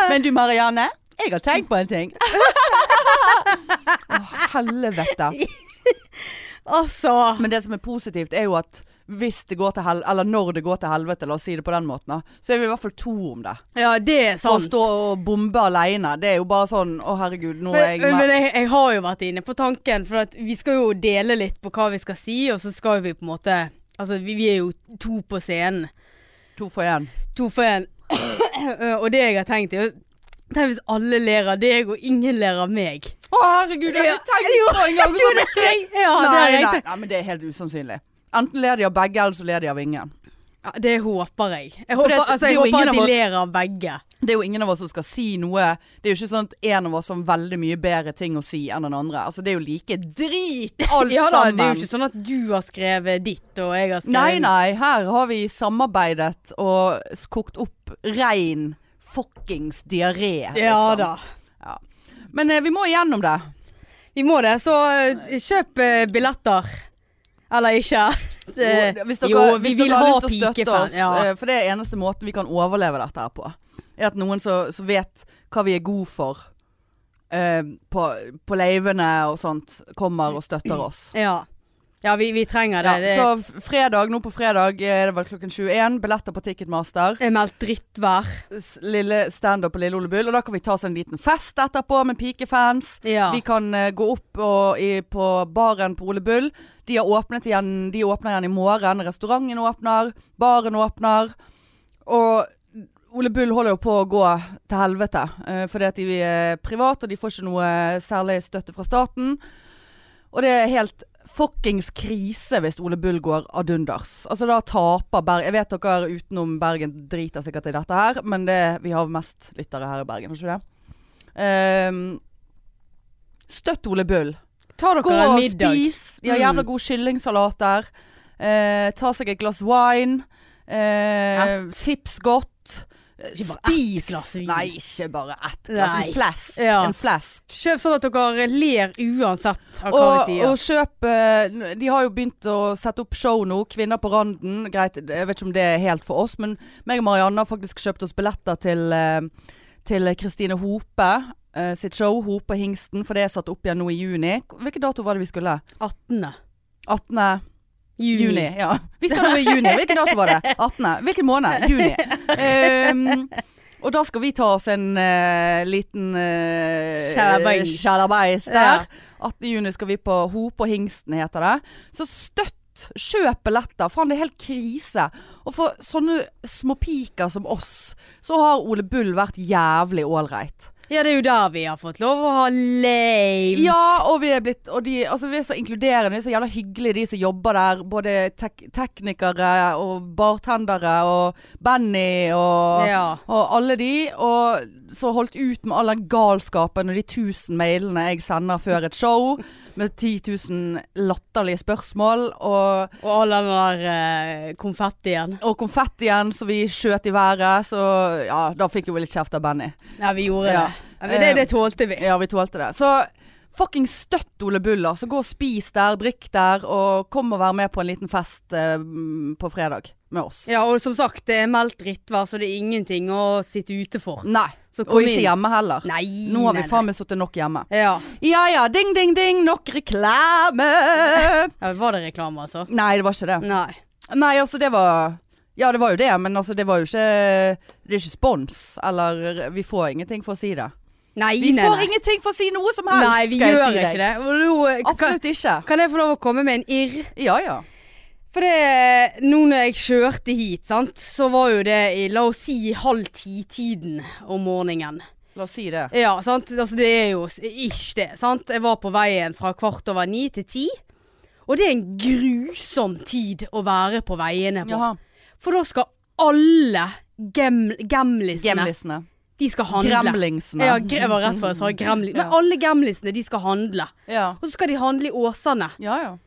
S1: men du Marianne, jeg har tenkt på en ting. Å, helvete.
S3: Altså.
S1: Men det som er positivt er jo at hvis det går til hel eller når det går til helvete, la oss si det på den måten, da, så er vi i hvert fall to om det.
S3: Ja, det er
S1: For å
S3: sant.
S1: stå og bombe aleine, det er jo bare sånn Å, herregud, nå er
S3: Men,
S1: jeg
S3: men
S1: med.
S3: jeg, jeg har jo vært inne på tanken, for at vi skal jo dele litt på hva vi skal si, og så skal vi på en måte Altså, vi, vi er jo to på scenen.
S1: To for én.
S3: To for én. og det jeg har tenkt, er jo Tenk hvis alle ler av deg, og ingen ler av meg.
S1: Å, herregud, jeg har ikke tenkt på engang!
S3: Jo, det har jeg- ja, det har
S1: nei,
S3: jeg
S1: nei,
S3: tenkt.
S1: nei, men det er helt usannsynlig. Enten ler de av begge, eller så ler de av ingen.
S3: Ja, det håper jeg. Jeg
S1: For det-
S3: håper, altså,
S1: det er
S3: jeg
S1: jo ingen
S3: håper at
S1: av
S3: de
S1: oss-
S3: ler av begge.
S1: Det er jo ingen av oss som skal si noe Det er jo ikke sånn at en av oss har veldig mye bedre ting å si enn den andre. Altså, det er jo like drit, alt
S3: Ja da,
S1: sammen.
S3: det er jo ikke sånn at du har skrevet ditt, og jeg har skrevet
S1: Nei, nei, her har vi samarbeidet og s- kokt opp rein fuckings diaré.
S3: Ja
S1: liksom.
S3: da.
S1: Men eh, vi må igjennom det.
S3: Vi må det, så eh, kjøp eh, billetter. Eller ikke. Det-
S1: Jo, hvis dere,
S3: Eh, jo,
S1: hvis dere har lyst til å støtte
S3: pikefan,
S1: oss,
S3: Ja.
S1: eh, for det er eneste måten vi kan overleve dette her på. Er at noen som som vet hva vi er gode for eh, på, på leivene og sånt, kommer og støtter oss.
S3: ja. ja, vi, vi trenger det.
S1: Ja,
S3: det
S1: så f- fredag, nå på fredag eh, det var klokken 21. Billetter på Ticketmaster.
S3: er meldt drittvær.
S1: S- Lille standup på Lille Ole Bull. Og da kan vi ta oss en liten fest etterpå med pikefans.
S3: Ja.
S1: Vi kan eh, gå opp og, i, på baren på Ole Bull. De har åpnet igjen De åpner igjen i morgen. Restauranten åpner. Baren åpner. Og Ole Bull holder jo på å gå til helvete. eh, fordi at de er private, og de får ikke noe eh, særlig støtte fra staten. Og det er helt fuckings krise hvis Ole Bull går ad unders. Altså da taper Bergen Jeg vet dere utenom Bergen driter sikkert i dette her, men det, vi har mest lyttere her i Bergen, har ikke vi det? Ehm, støtt Ole Bull.
S3: Ta dere
S1: Gå
S3: en
S1: og
S3: middag.
S1: spis. De har
S3: Mm.
S1: jævla god kyllingsalat der. Eh, ta seg et glass wine. Eh, tips godt.
S3: Ikke bare ett glass vin.
S1: Nei, ikke bare ett glass.
S3: Nei.
S1: En flask.
S3: Ja.
S1: En flask.
S3: Kjøp sånn at dere ler uansett av hva
S1: Og,
S3: vi sier.
S1: og kjøp eh, De har jo begynt å sette opp show nå. Kvinner på randen. Greit, jeg vet ikke om det er helt for oss, men meg og Marianne har faktisk kjøpt oss billetter til eh, Til Kristine Hope eh, sitt show. Hope og Hingsten, for det er satt opp igjen nå i juni. Hvilken dato var det vi skulle?
S3: 18.
S1: 18.
S3: juni.
S1: eh, Juni. Ja. Vi skal nå i juni. Hvilken dato var det? 18. Hvilken måned? Juni. Ehm, og da skal vi ta oss en eh, liten uh,
S3: Sjalabais.
S1: der.
S3: Ja.
S1: 18. juni skal vi på Hop og Hingsten, heter det. Så støtt! Kjøp billetter. Faen, det er helt krise. Og for sånne småpiker som oss, så har Ole Bull vært jævlig ålreit.
S3: Ja, det er jo der vi har fått lov å ha laves.
S1: Ja, og vi er blitt og de, altså, Vi er så inkluderende, de er så jævla hyggelige de som jobber der. Både tek teknikere og bartendere og Benny og,
S3: Ja.
S1: og alle de. Og så holdt ut med all den galskapen og de 1000 mailene jeg sender før et show. Med 10 000 latterlige spørsmål. Og
S3: Og all den der eh, konfettien.
S1: og konfettien som vi skjøt i været, så ja, da fikk jo vi litt kjeft av Benny.
S3: Nei, vi gjorde
S1: Ja. Eh.
S3: det. Ja, Men det, det tålte vi.
S1: Ja, vi tålte det. Så fucking støtt Ole Bull, altså. Gå og spis der, drikk der, og kom og vær med på en liten fest eh, m, på fredag med oss.
S3: Ja, og som sagt, det er meldt drittvær, så det er ingenting å sitte ute for.
S1: Nei.
S3: Så
S1: Og
S3: kom
S1: ikke
S3: inn.
S1: hjemme heller.
S3: Nei,
S1: Nå har
S3: nei,
S1: vi faen meg sittet nok hjemme.
S3: nei. Ja.
S1: Ja ja, ding ding ding, nok reklame!
S3: ja, var det reklame, altså?
S1: Nei, det var ikke det.
S3: Nei.
S1: Nei, altså det var Ja, det var jo det, men altså det var jo ikke Det er ikke spons, eller Vi får ingenting for å si det.
S3: Nei,
S1: Vi
S3: nei,
S1: får
S3: nei.
S1: ingenting for å si noe som helst,
S3: Nei, vi
S1: skal jeg
S3: gjør
S1: si deg.
S3: ikke det. Og nå, eh, kan,
S1: Absolutt ikke.
S3: kan jeg få lov å komme med en irr?
S1: Ja ja.
S3: For det, eh, nå når jeg kjørte hit, sant, så var jo det i, la oss si, i halv ti-tiden om morgenen.
S1: La oss si det.
S3: Ja, sant. Altså, det er jo s- ish det, sant. Jeg var på veien fra kvart over ni til ti. Og det er en grusom tid å være på veiene på.
S1: Jaha.
S3: For da skal alle gam gamlisene
S1: Gamlisene.
S3: De skal handle.
S1: Gremlingsene.
S3: Ja, gre- jeg var rett før jeg sa gremling. Men
S1: Ja.
S3: alle gamlisene, de skal handle.
S1: Ja.
S3: Og så skal de handle i Åsane.
S1: ja, ja.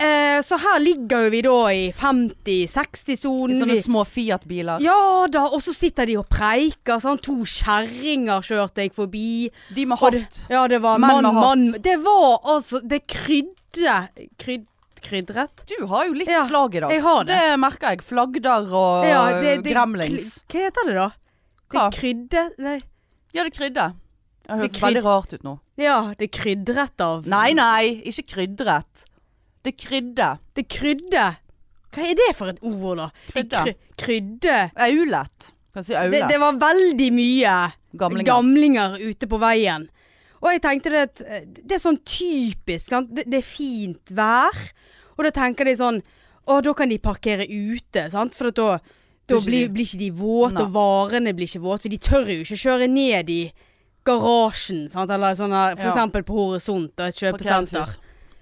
S3: Eh, så her ligger jo vi da i 50-60-sonen.
S1: I sånne små Fiat-biler.
S3: Ja da, og så sitter de og preiker. Sånn. To kjerringer kjørte jeg forbi.
S1: De med
S3: Og det-
S1: hatt.
S3: Ja, det var mann,
S1: Menn med
S3: mann. Det var altså Det krydde kryd, Kryddret?
S1: Du har jo litt
S3: Ja,
S1: slag i dag.
S3: jeg har det.
S1: merker jeg. Flagder og gremlings.
S3: kl- Hva heter det da?
S1: Hva?
S3: Det krydde... Nei.
S1: Ja, det krydder. Det
S3: Det
S1: høres
S3: kryd-
S1: veldig rart ut nå.
S3: Ja, det krydret av
S1: Nei, nei, ikke krydret. Det krydder.
S3: Det krydde Hva er det for et ord, da? Det er
S1: Krydder.
S3: kry- Krydde.
S1: Aulet. Kan si
S3: Det,
S1: aule.
S3: det var veldig mye gamlinger.
S1: Gamlinger.
S3: ute på veien. Og jeg tenkte det at eh, det er sånn typisk. Sant? Det, det er fint vær. Og da tenker de sånn Å, da kan de parkere ute, sant? For at da, da
S1: Blir ikke
S3: blir,
S1: de-
S3: blir ikke de våte,
S1: Nei.
S3: og varene blir ikke våte. For de tør jo ikke kjøre ned i garasjen, sant? eller sånn her, for
S1: Ja.
S3: eksempel på Horisont og et kjøpesenter.
S1: Parkeringshus.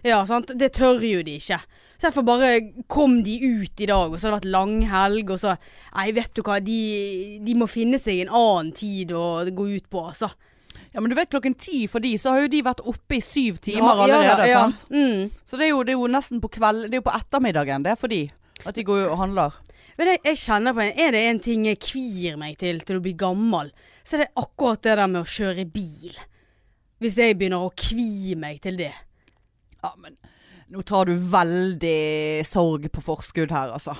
S3: Ja, sant? Det tør jo de ikke. Så derfor bare kom de ut i dag, og så har det vært langhelg, og så Nei, vet du hva, de, de må finne seg en annen tid å gå ut på, altså.
S1: Ja, men du vet klokken ti for de, så har jo de vært oppe i syv timer
S3: Ja, ja,
S1: allerede.
S3: ja.
S1: sant?
S3: Mm.
S1: Så det er, jo, det er jo nesten på kveld, det er jo på ettermiddagen det er for de. At de går jo og handler.
S3: Men jeg, jeg kjenner på en Er det en ting jeg kvir meg til til å bli gammel, så er det akkurat det der med å kjøre bil. Hvis jeg begynner å kvi meg til det.
S1: Ja, men nå tar du veldig sorg på forskudd her, altså.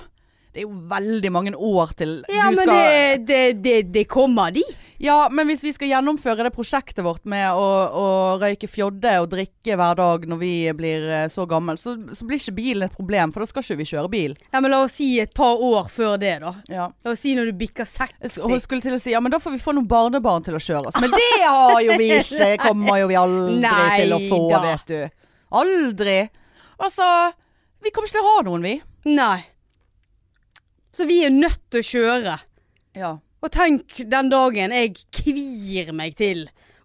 S1: Det er jo veldig mange år til
S3: Ja,
S1: du
S3: men
S1: skal
S3: det, det, det, det kommer, de.
S1: Ja, men hvis vi skal gjennomføre det prosjektet vårt med å, å røyke fjodde og drikke hver dag når vi blir eh, så gammel, så, så blir ikke bilen et problem, for da skal ikke vi kjøre bil.
S3: Ja, men la oss si et par år før det, da.
S1: Ja.
S3: La oss si når du bikker
S1: Jeg
S3: 60.
S1: sk- og skulle til å si ja, men da får vi få noen barnebarn til å kjøre oss. Men det har jo vi ikke. Det kommer jo vi aldri
S3: Nei
S1: til å få,
S3: da.
S1: vet du. Aldri. Altså, vi kommer ikke til å ha noen, vi.
S3: Nei. Så vi er nødt til å kjøre.
S1: Ja.
S3: Og tenk den dagen jeg kvir meg til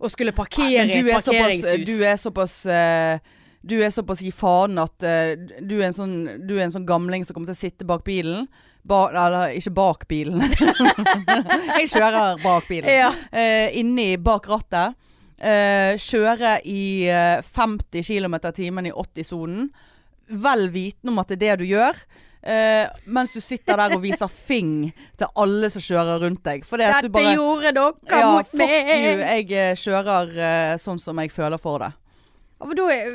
S3: å skulle parkere i
S1: Men
S3: et
S1: du er såpass, eh,
S3: parkeringshus.
S1: du er såpass eh, du er såpass i fanen at eh, du, er en sånn, du er en sånn gamling som kommer til å sitte bak bilen. Ba, eller ikke bak bilen. jeg kjører bak bilen.
S3: ja.
S1: eh, inni bak rattet. Eh, kjøre i eh, 50 km i timen i 80-sonen. Vel vitende om at det er det du gjør. Eh, mens du sitter der og viser fing til alle som kjører rundt deg. Fordi at
S3: Dette
S1: du bare
S3: gjorde dere
S1: Ja,
S3: mot
S1: fuck
S3: meg.
S1: you. Jeg eh, kjører eh, sånn som jeg føler for det.
S3: Ja, men da er,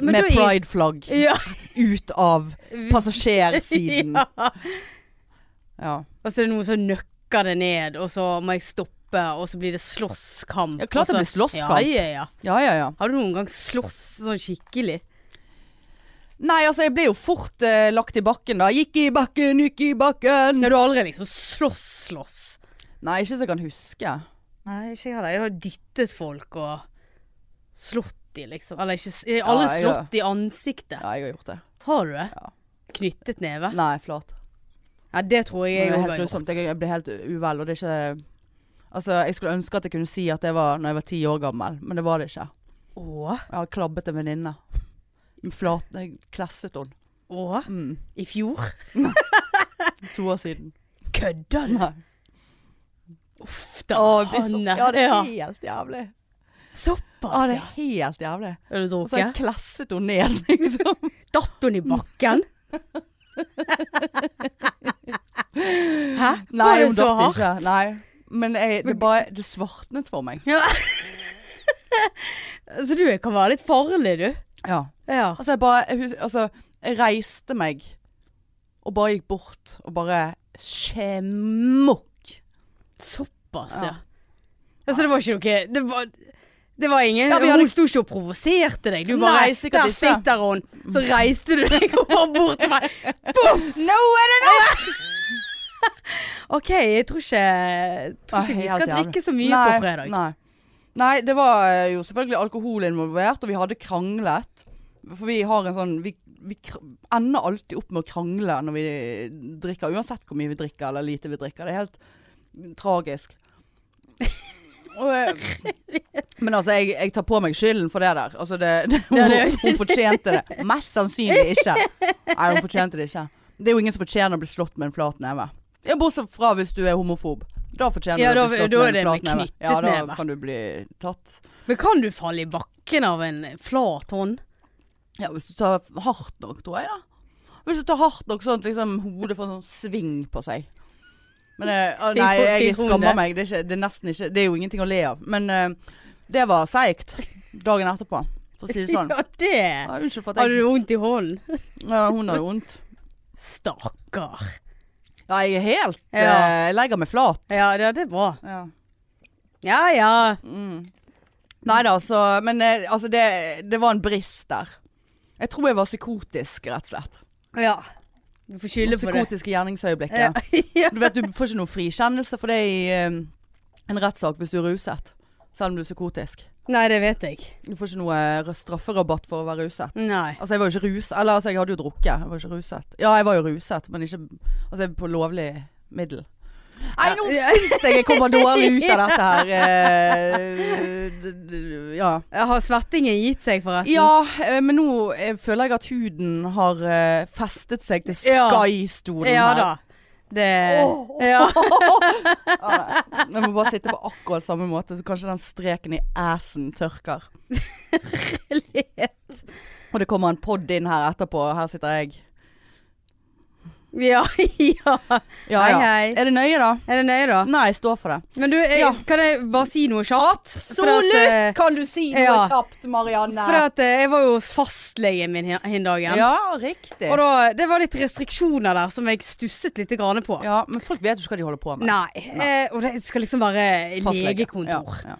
S3: men da
S1: Med
S3: er-
S1: pride-flagg
S3: Ja.
S1: ut av passasjersiden.
S3: ja.
S1: Ja.
S3: Og så er det noen som nøkker det ned, og så må jeg stoppe, og så blir det slåsskamp.
S1: Ja, klart
S3: og så-
S1: det blir slåsskamp.
S3: Ja, ja, ja.
S1: ja, ja, ja.
S3: Har du noen gang slåss sånn skikkelig?
S1: Nei, altså, jeg ble jo fort eh, lagt i bakken, da. Gikk i bakken, gikk i bakken.
S3: Ja, du har aldri liksom slåss-slåss.
S1: Nei, ikke så jeg kan huske.
S3: Nei, ikke heller. Jeg har dyttet folk og slått de, liksom. Eller ikke s- Jeg har aldri
S1: Ja, jeg
S3: slått i ansiktet.
S1: Ja, jeg har gjort det.
S3: Har du det?
S1: Ja.
S3: Knyttet neve?
S1: Nei, flat.
S3: Ja, det tror jeg
S1: Det
S3: jeg
S1: er
S3: òg
S1: helt
S3: har gjort.
S1: grusomt. Jeg, jeg ble helt uvel, og det er ikke Altså, jeg skulle ønske at jeg kunne si at det var når jeg var ti år gammel, men det var det ikke.
S3: Å?
S1: Jeg har klabbet en venninne. En Flat Jeg klesset henne.
S3: Å?
S1: Mm.
S3: I fjor?
S1: To år siden.
S3: Kødder du?
S1: Nei.
S3: Uff da.
S1: Å, jeg blir så,
S3: Hanne.
S1: ja, det er
S3: Ja.
S1: helt jævlig. Ja,
S3: Såpass,
S1: det
S3: ja.
S1: er helt jævlig.
S3: Har du
S1: Og så har jeg
S3: drukket?
S1: klesset henne ned, liksom.
S3: Datt hun i bakken? Hæ?
S1: Nei,
S3: Var det
S1: hun
S3: så
S1: datt
S3: hardt?
S1: ikke. Nei. Men jeg, det, bare, det svartnet for meg.
S3: Ja. Så du kan være litt farlig, du.
S1: Ja.
S3: Ja.
S1: Altså jeg bare jeg, hus- altså, jeg reiste meg og bare gikk bort og bare Skjemokk.
S3: Såpass,
S1: Ja.
S3: ja. Altså, det var ikke noe Det var, det var ingen
S1: Ja, vi hadde-
S3: Hun sto ikke og provoserte deg. Du
S1: Nei,
S3: bare
S1: sikkert
S3: Der
S1: ikke.
S3: sitter hun. Så reiste du deg og var bort til meg. Boff! No, er det OK, jeg tror ikke, tror ikke vi skal drikke så mye
S1: nei,
S3: på fredag.
S1: Nei. nei, det var eh, jo selvfølgelig alkohol involvert, og vi hadde kranglet. For vi har en sånn Vi, vi kr- ender alltid opp med å krangle når vi drikker. Uansett hvor mye vi drikker eller lite vi drikker. Det er helt tragisk. Og, eh, men altså, jeg, jeg tar på meg skylden for det der. Altså, det, det, hun,
S3: Ja, det-
S1: hun fortjente det. Mest sannsynlig ikke. Nei, hun fortjente det ikke. Det er jo ingen som fortjener å bli slått med en flat neve. Ja, Bortsett fra hvis du er homofob. Da fortjener
S3: Ja,
S1: du
S3: da-
S1: å bli slått
S3: da er
S1: med
S3: det
S1: en
S3: med
S1: flat neve.
S3: knyttet
S1: Ja, da
S3: neve.
S1: kan du bli tatt.
S3: Men kan du falle i bakken av en flat hånd?
S1: Ja, hvis du tar hardt nok, tror jeg, da. Hvis du tar hardt nok sånn at liksom, hodet får en sånn sving på seg. Men eh, å,
S3: Fikk
S1: nei,
S3: på-
S1: jeg
S3: fikk
S1: skammer
S3: hodet.
S1: meg. Det er, ikke, det er nesten ikke Det er jo ingenting å le av. Men eh, det var seigt dagen etterpå, for å si det sånn.
S3: Ja, det
S1: Ja, unnskyld for at
S3: Hadde
S1: jeg
S3: du vondt i hånden?
S1: ja, Hun har jo vondt.
S3: Stakkar.
S1: Ja, jeg er helt
S3: Ja.
S1: eh, Jeg legger meg flat.
S3: Ja, det, det er bra.
S1: Ja.
S3: Ja ja.
S1: Nei da, så Men eh, altså, det, det var en brist der. Jeg tror jeg var psykotisk, rett og slett.
S3: Ja. Du får skylde på det.
S1: Psykotiske gjerningsøyeblikket.
S3: Ja. ja.
S1: Du vet, du får ikke noen frikjennelse for det i eh, en rettssak hvis du er ruset. Selv om du er psykotisk.
S3: Nei, det vet jeg.
S1: Du får ikke noe eh, strafferabatt for å være ruset.
S3: Nei.
S1: Altså, jeg var jo ikke rus... Eller altså, jeg hadde jo drukket. Jeg var ikke ruset. Ja, jeg var jo ruset, men ikke Altså, jeg var på lovlig middel. Nei, nå
S3: Ja.
S1: syns jeg jeg kommer dårlig ut av dette her. eh, d- d- Ja.
S3: Har svettingen gitt seg, forresten?
S1: Ja, eh, men nå eh, føler jeg at huden har eh, festet seg til
S3: Ja.
S1: Sky-stolen
S3: Ja
S1: her.
S3: da. Det
S1: Åh.
S3: Ja.
S1: Ja, nei. jeg må bare sitte på akkurat samme måte, så kanskje den streken i assen tørker. Og det kommer en pod inn her etterpå, og her sitter jeg.
S3: Ja, ja.
S1: Ja,
S3: Hei,
S1: ja.
S3: hei.
S1: Er det nøye, da?
S3: Er det nøye, da?
S1: Nei, jeg står for det.
S3: Men du, jeg,
S1: Ja.
S3: kan jeg bare si noe kjapt? For at, eh,
S1: kan du si
S3: ja.
S1: kjapt, Marianne.
S3: For at eh, jeg var jo hos fastlegen min her- hin dagen.
S1: Ja, riktig.
S3: Og da, det var litt restriksjoner der som jeg stusset litt grann på.
S1: Ja, men folk vet jo ikke hva de holder på med.
S3: Nei. Eh, og det skal liksom være
S1: Fastlege.
S3: legekontor.
S1: Ja,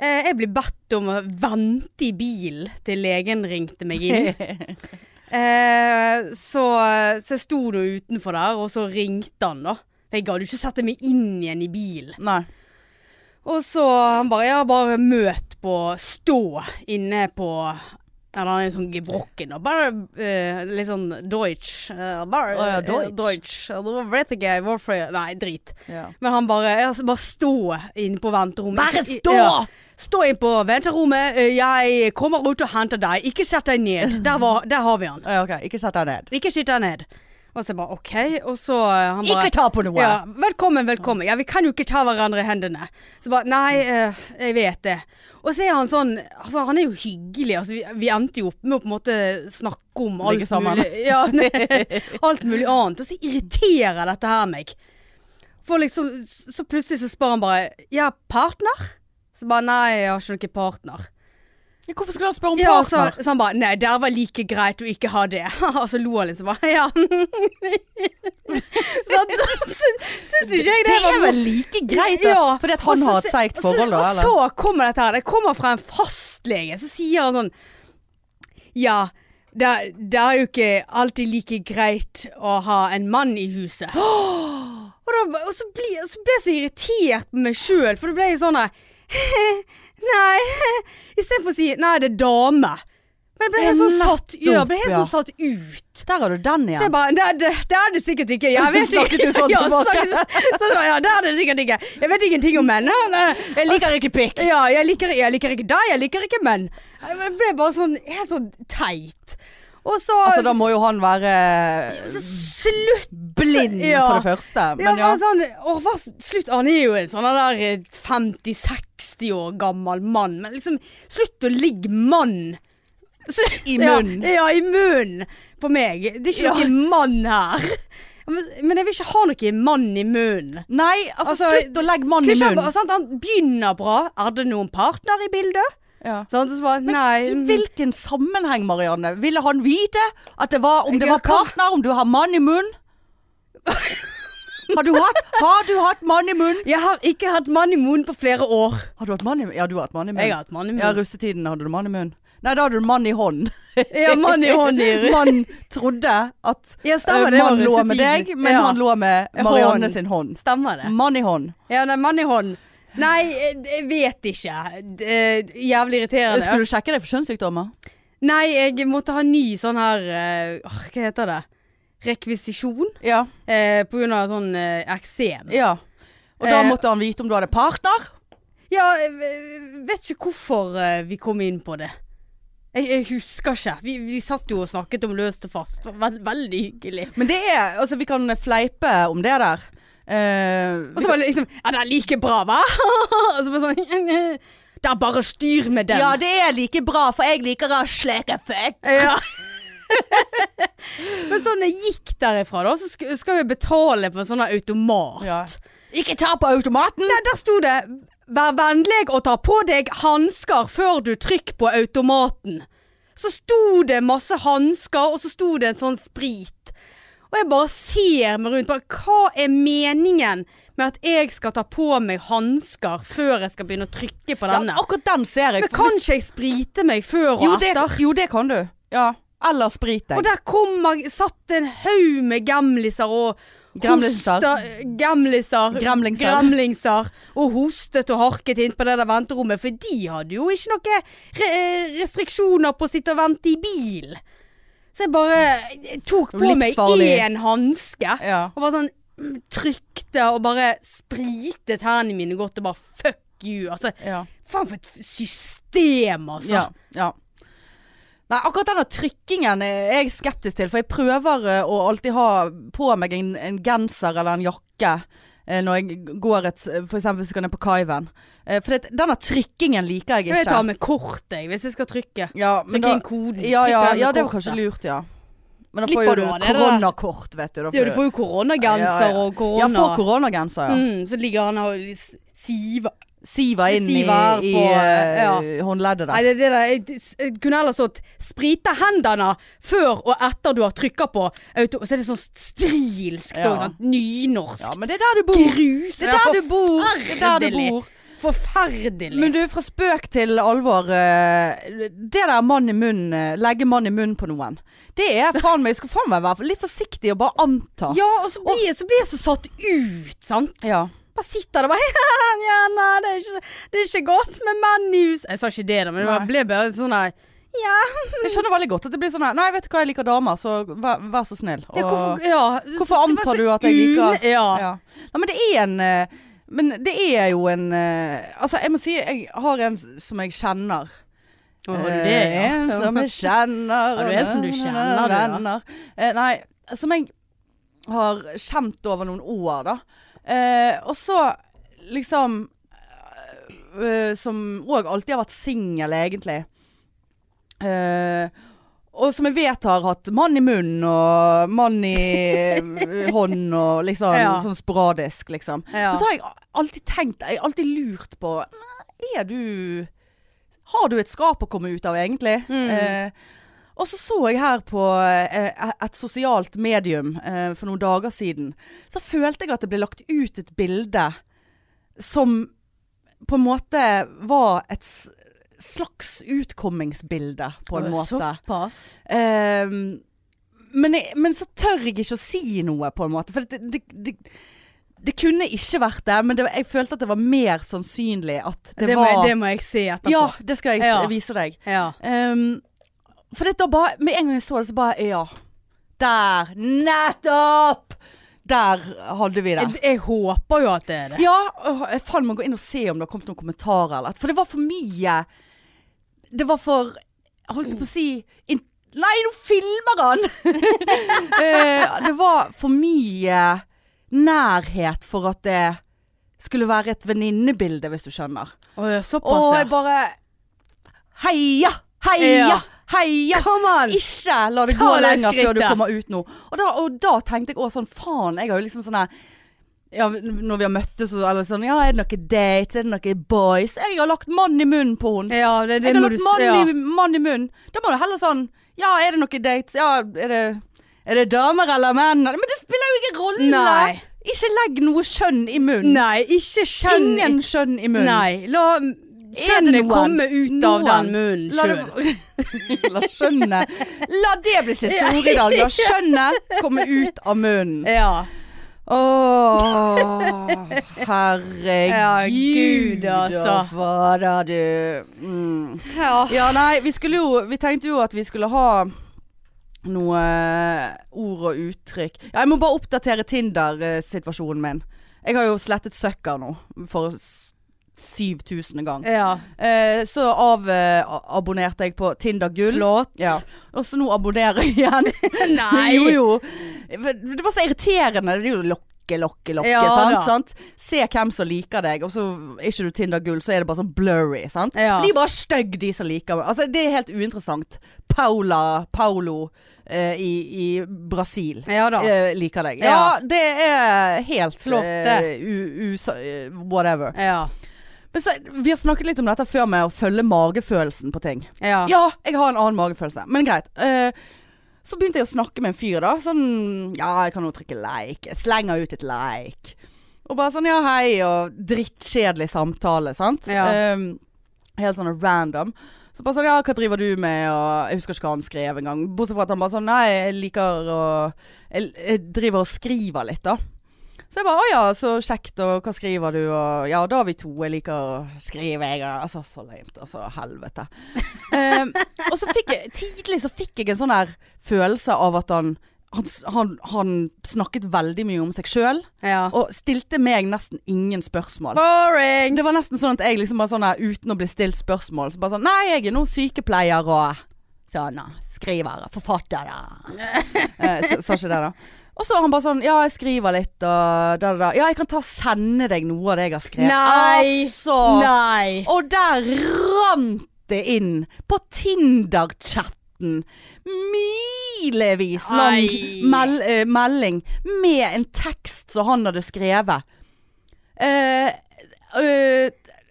S3: Eh, jeg ble bedt om å vente i bil til legen ringte meg inn.
S1: ja.
S3: Eh, så, så jeg sto nå utenfor der, og så ringte han, da. For Jeg gadd jo ikke sette meg inn igjen i bilen.
S1: Nei.
S3: Og så han bare Ja, bare møt på Stå inne på Eller han er jo sånn gebrokken og bare eh, litt sånn Deutsch. eh, bare
S1: Å ja,
S3: eh,
S1: Deutsch.
S3: Deutsch. Og Da vet ikke jeg hvorfor jeg Nei, drit.
S1: Ja.
S3: Men han bare ja, så Bare stå inne på venterommet.
S1: Bare
S3: Ikke- i-
S1: stå!
S3: ja. Stå inn på venterommet. eh, Jeg kommer ut og henter deg. Ikke sett deg ned. Der, var, der har vi han.
S1: Ja, ok, ikke sett deg ned.
S3: Ikke sitt deg ned. Og så jeg bare OK. Og så eh, han bare
S1: Ikke ta på noe!
S3: ja, velkommen, velkommen. Ja, vi kan jo ikke ta hverandre i hendene. Så bare, nei,
S1: Mm.
S3: eh, jeg vet det. Og så er han sånn, altså han er jo hyggelig. Altså, vi, vi endte jo opp med å på en måte snakke om
S1: Ligge
S3: alt
S1: sammen.
S3: mulig, ja, alt mulig annet. Og så irriterer dette her meg. For liksom, så plutselig så spør han bare, ja, partner? Så bare, nei, jeg har ikke noen partner.
S1: Ja, Hvorfor skulle han spørre om
S3: Ja, og så,
S1: partner?
S3: så han bare, nei, der var like greit å ikke ha det. Og så lo han liksom bare, ja. så, så synes ikke jeg det,
S1: Det
S3: var
S1: er
S3: mor-
S1: vel like greit, da.
S3: Ja.
S1: Fordi at han
S3: Og så
S1: har et
S3: se-
S1: seigt
S3: og så-
S1: forhold, da.
S3: Og
S1: Eller?
S3: så kommer dette her. Det kommer fra en fastlege. Så sier han sånn Ja, det, er- det er jo ikke alltid like greit å ha en mann i huset. Og, da, og så ble og så ble jeg så irritert på meg sjøl, for det ble jo sånn her Nei. Istedenfor å si Nei, det er dame. Men jeg ble helt sånn satt, ja, jeg ble helt sånn satt ut.
S1: Der har du den
S3: Så jeg
S1: igjen.
S3: bare, det er det, det er det sikkert ikke. Jeg vet ikke.
S1: Snakket du sånn
S3: Ja,
S1: tilbake?
S3: snakket- så jeg bare, ja, det er det sikkert ikke. Jeg vet ingenting om menn. Nei, nei, Jeg liker,
S1: ikke pikk.
S3: ja, jeg liker, jeg liker ikke deg, jeg liker ikke menn. Jeg ble bare sånn, helt sånn teit. Og så,
S1: Altså, da må jo han være
S3: så slutt.
S1: blind,
S3: ja.
S1: for det første.
S3: Ja,
S1: Men ja.
S3: bare Sånn, å, hva, slutt, han er jo en sånn der eh, 50-60 år gammel mann, men liksom, slutt å ligge mann. Slutt-
S1: I
S3: Ja,
S1: munnen.
S3: Ja, i munnen på meg. Det er ikke
S1: Ja.
S3: noen mann her. Men, men jeg vil ikke ha noen mann i munnen.
S1: Nei, altså,
S3: Altså,
S1: slutt å legge mannen
S3: Kunne
S1: i
S3: ikke han bare-
S1: munnen.
S3: sant, han begynner bra. Er det noen partner i bildet?
S1: Ja.
S3: Sant, og så bare, nei.
S1: I
S3: mm.
S1: hvilken sammenheng, Marianne? Ville han vite at det var, om det
S3: Ja,
S1: var
S3: hva-
S1: partner, om du har mann i munnen? Har du hatt, har du hatt mann i munnen?
S3: Jeg har ikke hatt mann i munnen på flere år.
S1: Har du hatt mann i munnen? Ja, du har hatt mann i munnen.
S3: Jeg har hatt mann i
S1: Ja,
S3: munnen.
S1: russetiden hadde du mann i munnen. Nei, da hadde du mann i hånd.
S3: Ja, mann i hånden. i-
S1: Mann trodde at
S3: Ja, stemmer,
S1: eh,
S3: det var
S1: mann lå med
S3: russetiden.
S1: deg, men
S3: Ja.
S1: han lå med Marianne
S3: Hånd.
S1: sin hånd.
S3: Stemmer det?
S1: Mann i hånd.
S3: Ja, nei, mann i hånd. Nei, eh, jeg vet ikke. D- eh, Jævlig irriterende.
S1: Skulle du sjekke deg for kjønnssykdommer?
S3: Nei, jeg måtte ha ny sånn her eh, åh, Hva heter det? Rekvisisjon?
S1: Ja.
S3: Eh, på grunn av sånn eh, eksem.
S1: ja. Og da
S3: Eh,
S1: måtte han vite om du hadde partner?
S3: Ja, jeg v- vet ikke hvorfor eh, vi kom inn på det. Jeg, jeg husker ikke. Vi, vi satt jo og snakket om løst og fast. Det var Veld, veldig hyggelig.
S1: Men det er Altså, vi kan fleipe om det der. Eh,
S3: Og så var det liksom Ja, det er like bra, hva? og så var det sånn Det er bare styr med den.
S1: ja, det er like bra, for jeg liker å sleke fett.
S3: Ja. Men sånn jeg gikk derifra, da, så sk- skal vi betale på en sånn her automat.
S1: Ja. Ikke ta på automaten!
S3: Nei, der sto det 'Vær vennlig og ta på deg hansker før du trykker på automaten'. Så sto det masse hansker, og så sto det en sånn sprit. Og jeg bare ser meg rundt. Bare, hva er meningen med at jeg skal ta på meg hansker før jeg skal begynne å trykke på
S1: Ja,
S3: denne?
S1: akkurat den ser jeg.
S3: Men kan ikke jeg sprite meg før og
S1: jo, det,
S3: etter?
S1: jo, det kan du. Ja. Eller sprit
S3: Og
S1: deg.
S3: der kom man, satt en haug med gamliser og
S1: Gremliser.
S3: hosta- Gamliser.
S1: Gremlingser.
S3: Gremlingser. Og hostet og harket inn på det der venterommet, for de hadde jo ikke noen re restriksjoner på å sitte og vente i bil. Så jeg bare tok på meg
S1: Livsfarlig.
S3: én hanske
S1: Ja.
S3: og bare sånn mm, trykte og bare spritet hendene mine godt og bare fuck you. Altså,
S1: Ja.
S3: faen for et system, altså.
S1: Ja, ja. Nei, akkurat denne trykkingen er jeg skeptisk til, for jeg prøver eh, å alltid ha på meg en, en genser eller en jakke eh, når jeg går et For eksempel hvis jeg kan ned på Kaiven. Eh, For det, denne trykkingen liker jeg
S3: Jeg
S1: ikke.
S3: tar med kort, jeg, hvis jeg skal trykke.
S1: Ja, men
S3: Trykke
S1: da,
S3: inn koden. Trykke
S1: ja, ja,
S3: den med
S1: ja, det var
S3: kortet.
S1: kanskje lurt, ja. Men da
S3: Slipper
S1: får jo
S3: du
S1: du
S3: av det, det der?
S1: koronakort, vet du. Da
S3: Ja, du får jo
S1: Ja,
S3: koronagenser
S1: ja.
S3: og korona.
S1: ja, får koronagenser, ja.
S3: mm, så ligger han og s- siver.
S1: Siva inn
S3: Siva
S1: i, i
S3: på,
S1: eh,
S3: ja.
S1: håndleddet
S3: Nei,
S1: der.
S3: det, er det der, jeg, jeg kunne heller stått 'sprite hendene før og etter du har trykka på'. Auto, så er det sånn strilskt
S1: Ja.
S3: og sånn nynorsk.
S1: Ja, men det er der du bor.
S3: Grus.
S1: Det er der du bor. Det er der du
S3: forferdelig.
S1: bor.
S3: Forferdelig.
S1: Men du, fra spøk til alvor. eh, Det der mann i munnen, eh, legge mann i munnen på noen. Det er faen meg, jeg skal faen meg være litt forsiktig og bare anta.
S3: ja, og så blir, jeg- så blir jeg så satt ut, sant.
S1: Ja.
S3: Bare sitter der og bare ja, nei, det, er ikke, det er ikke godt med menn i hus. Jeg sa ikke det, da, men det
S1: Nei.
S3: var- ble bare sånn der Ja,
S1: Jeg skjønner veldig godt at det blir sånn her Nei, vet du hva, jeg liker damer, så vær, vær så snill.
S3: ja,
S1: Og,
S3: hvorfor, ja.
S1: hvorfor
S3: Det var
S1: antar
S3: så
S1: du at jeg liker
S3: une- Ja.
S1: Ja. Nei, men det er en eh, Men det er jo en eh, Altså, jeg må si jeg har en som jeg kjenner.
S3: Å, har du
S1: Eh,
S3: det, ja?
S1: En som jeg kjenner
S3: Ja, du er en som du kjenner, du, ja.
S1: venner. Eh, Nei, som jeg har kjent over noen år, da. Eh, og så liksom eh, Som òg alltid har vært singel, egentlig. Eh, og som jeg vet har hatt mann i munnen og mann i eh, hånd og liksom
S3: Ja.
S1: sånn sporadisk, liksom.
S3: Ja.
S1: Men så har jeg alltid tenkt, jeg har alltid lurt på "Nei, Er du Har du et skap å komme ut av, egentlig? Eh, og så så jeg her på eh, et sosialt medium eh, for noen dager siden. Så følte jeg at det ble lagt ut et bilde som på en måte var et s- slags utkommingsbilde, på en
S3: Å,
S1: måte.
S3: Såpass.
S1: Ehm, men, jeg, men så tør jeg ikke å si noe, på en måte. For det, det, det, det kunne ikke vært det, men det, jeg følte at det var mer sannsynlig at det,
S3: Det, må,
S1: var
S3: jeg- det må jeg se etterpå.
S1: Ja, det skal jeg s-
S3: Ja.
S1: vise deg.
S3: Ja.
S1: Ehm, for det da bare Med en gang jeg så det, så bare Ja. Der! Nettopp! Der hadde vi det.
S3: Jeg, jeg håper jo at det er det.
S1: Ja, åh, jeg faen må gå inn og se om det har kommet noen kommentarer eller For det var for mye Det var for Jeg holdt på å si in, Nei, nå filmer han! Eh, det var for mye nærhet for at det skulle være et venninnebilde, hvis du skjønner.
S3: Å, ja, såpass,
S1: Og
S3: ja.
S1: jeg bare Heia! Heia!
S3: Ja.
S1: Heia!
S3: Kom an!
S1: Ikke la det
S3: Ta
S1: gå
S3: det
S1: lenger før du
S3: skrittet.
S1: kommer ut nå. Og da, og da tenkte jeg òg sånn, faen, jeg har jo liksom sånn her ja, når vi har møttes og eller sånn Ja, er det noen dates? Er det noen boys? Jeg har lagt mann i munnen på henne.
S3: Ja, det, det
S1: Jeg har
S3: må du
S1: lagt
S3: s-
S1: mann,
S3: ja.
S1: i, mann i munnen. Da må du heller sånn Ja, er det noen dates? Ja, er det, er det damer eller menn? Men det spiller jo ingen rolle!
S3: Nei.
S1: Ikke legg noe kjønn i munnen.
S3: Nei, ikke kjønn
S1: Ingen kjønn i munnen.
S3: Nei, la
S1: Er det
S3: kjønnet
S1: noen?
S3: komme ut av
S1: Noen?
S3: den munnen
S1: La,
S3: sjøl.
S1: det, la skjønnet La det bli siste ord i dag. La skjønnet komme ut av munnen.
S3: Ja. Ja,
S1: Åh, herregud,
S3: Gud, altså.
S1: og Fader, du. Mm.
S3: ja.
S1: Ja, nei, vi skulle jo Vi tenkte jo at vi skulle ha noe ord og uttrykk. Ja, jeg må bare oppdatere Tinder-situasjonen min. Jeg har jo slettet Sucker nå, for s- 7000 gang.
S3: ja.
S1: Eh, så avabonnerte jeg på Tinder Gull.
S3: Flott.
S1: Ja. Og så nå abonnerer jeg igjen.
S3: Nei!
S1: jo, jo. Det var så irriterende. Det er jo lokke, lokke, lokke.
S3: Ja, da.
S1: sant? sant? Se hvem som liker deg, og så er ikke du Tinder Gull, så er det bare sånn blurry. sant?
S3: Ja.
S1: De er bare stygge, de som liker meg. Altså, det er helt uinteressant. Paula, Paulo eh, i, i Brasil.
S3: Ja da.
S1: eh, liker deg. Ja,
S3: Ja.
S1: det er helt
S3: Flott,
S1: eh,
S3: det.
S1: u, usa- eh, whatever.
S3: Ja.
S1: Men så, vi har snakket litt om dette før med å følge magefølelsen på ting.
S3: Ja.
S1: Ja, jeg har en annen magefølelse, men greit. Eh, så begynte jeg å snakke med en fyr, da. Sånn Ja, jeg kan jo trykke like. Jeg slenger ut et like. Og bare sånn ja, hei, og drittkjedelig samtale, sant.
S3: Ja.
S1: Eh, helt sånn random. Så bare sånn, ja, hva driver du med? Og jeg husker ikke hva han skrev engang. Bortsett fra at han bare sånn, nei, jeg liker å Jeg, jeg driver og skriver litt, da. Så jeg bare, å ja, så kjekt, og hva skriver du? Og ja, da er vi to, jeg liker å skrive, jeg. og- Altså, så lame. Altså, helvete. Eh, og så fikk jeg, tidlig så fikk jeg en sånn her følelse av at han han, s- han, han snakket veldig mye om seg sjøl,
S3: Ja.
S1: og stilte meg nesten ingen spørsmål.
S3: Boring!
S1: Det var nesten sånn at jeg liksom bare sånn her, uten å bli stilt spørsmål, så bare sånn Nei, jeg er nå sykepleier og sånn, ja, skriver, forfatter eh, så- Sa ikke det, da. Og så var han bare sånn Ja, jeg skriver litt og da, da, da. Ja, jeg kan ta og sende deg noe av det jeg har skrevet.
S3: Nei!
S1: Altså!
S3: Nei!
S1: Og der rant det inn på Tinder-chatten. Milevis lang
S3: Ai.
S1: mel eh, melding med en tekst som han hadde skrevet. Eh, eh,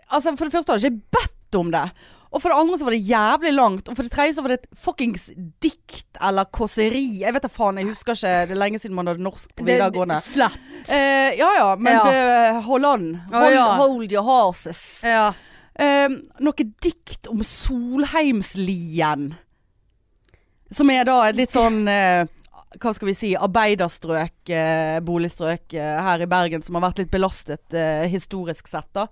S1: altså For det første hadde jeg ikke bedt om det. Og for det andre så var det jævlig langt. Og for det tredje så var det et fuckings dikt eller kåseri. Jeg vet da faen, jeg husker ikke. Det er lenge siden man hadde norsk på videregående.
S3: Slett.
S1: Eh, ja ja, men
S3: Ja.
S1: det- hold on.
S3: Å,
S1: Hold,
S3: ja.
S1: hold your horses.
S3: Ja.
S1: Eh, noe dikt om Solheimslien. Som er da et litt sånn eh, Hva skal vi si arbeiderstrøk, eh, boligstrøk eh, her i Bergen som har vært litt belastet eh, historisk sett, da.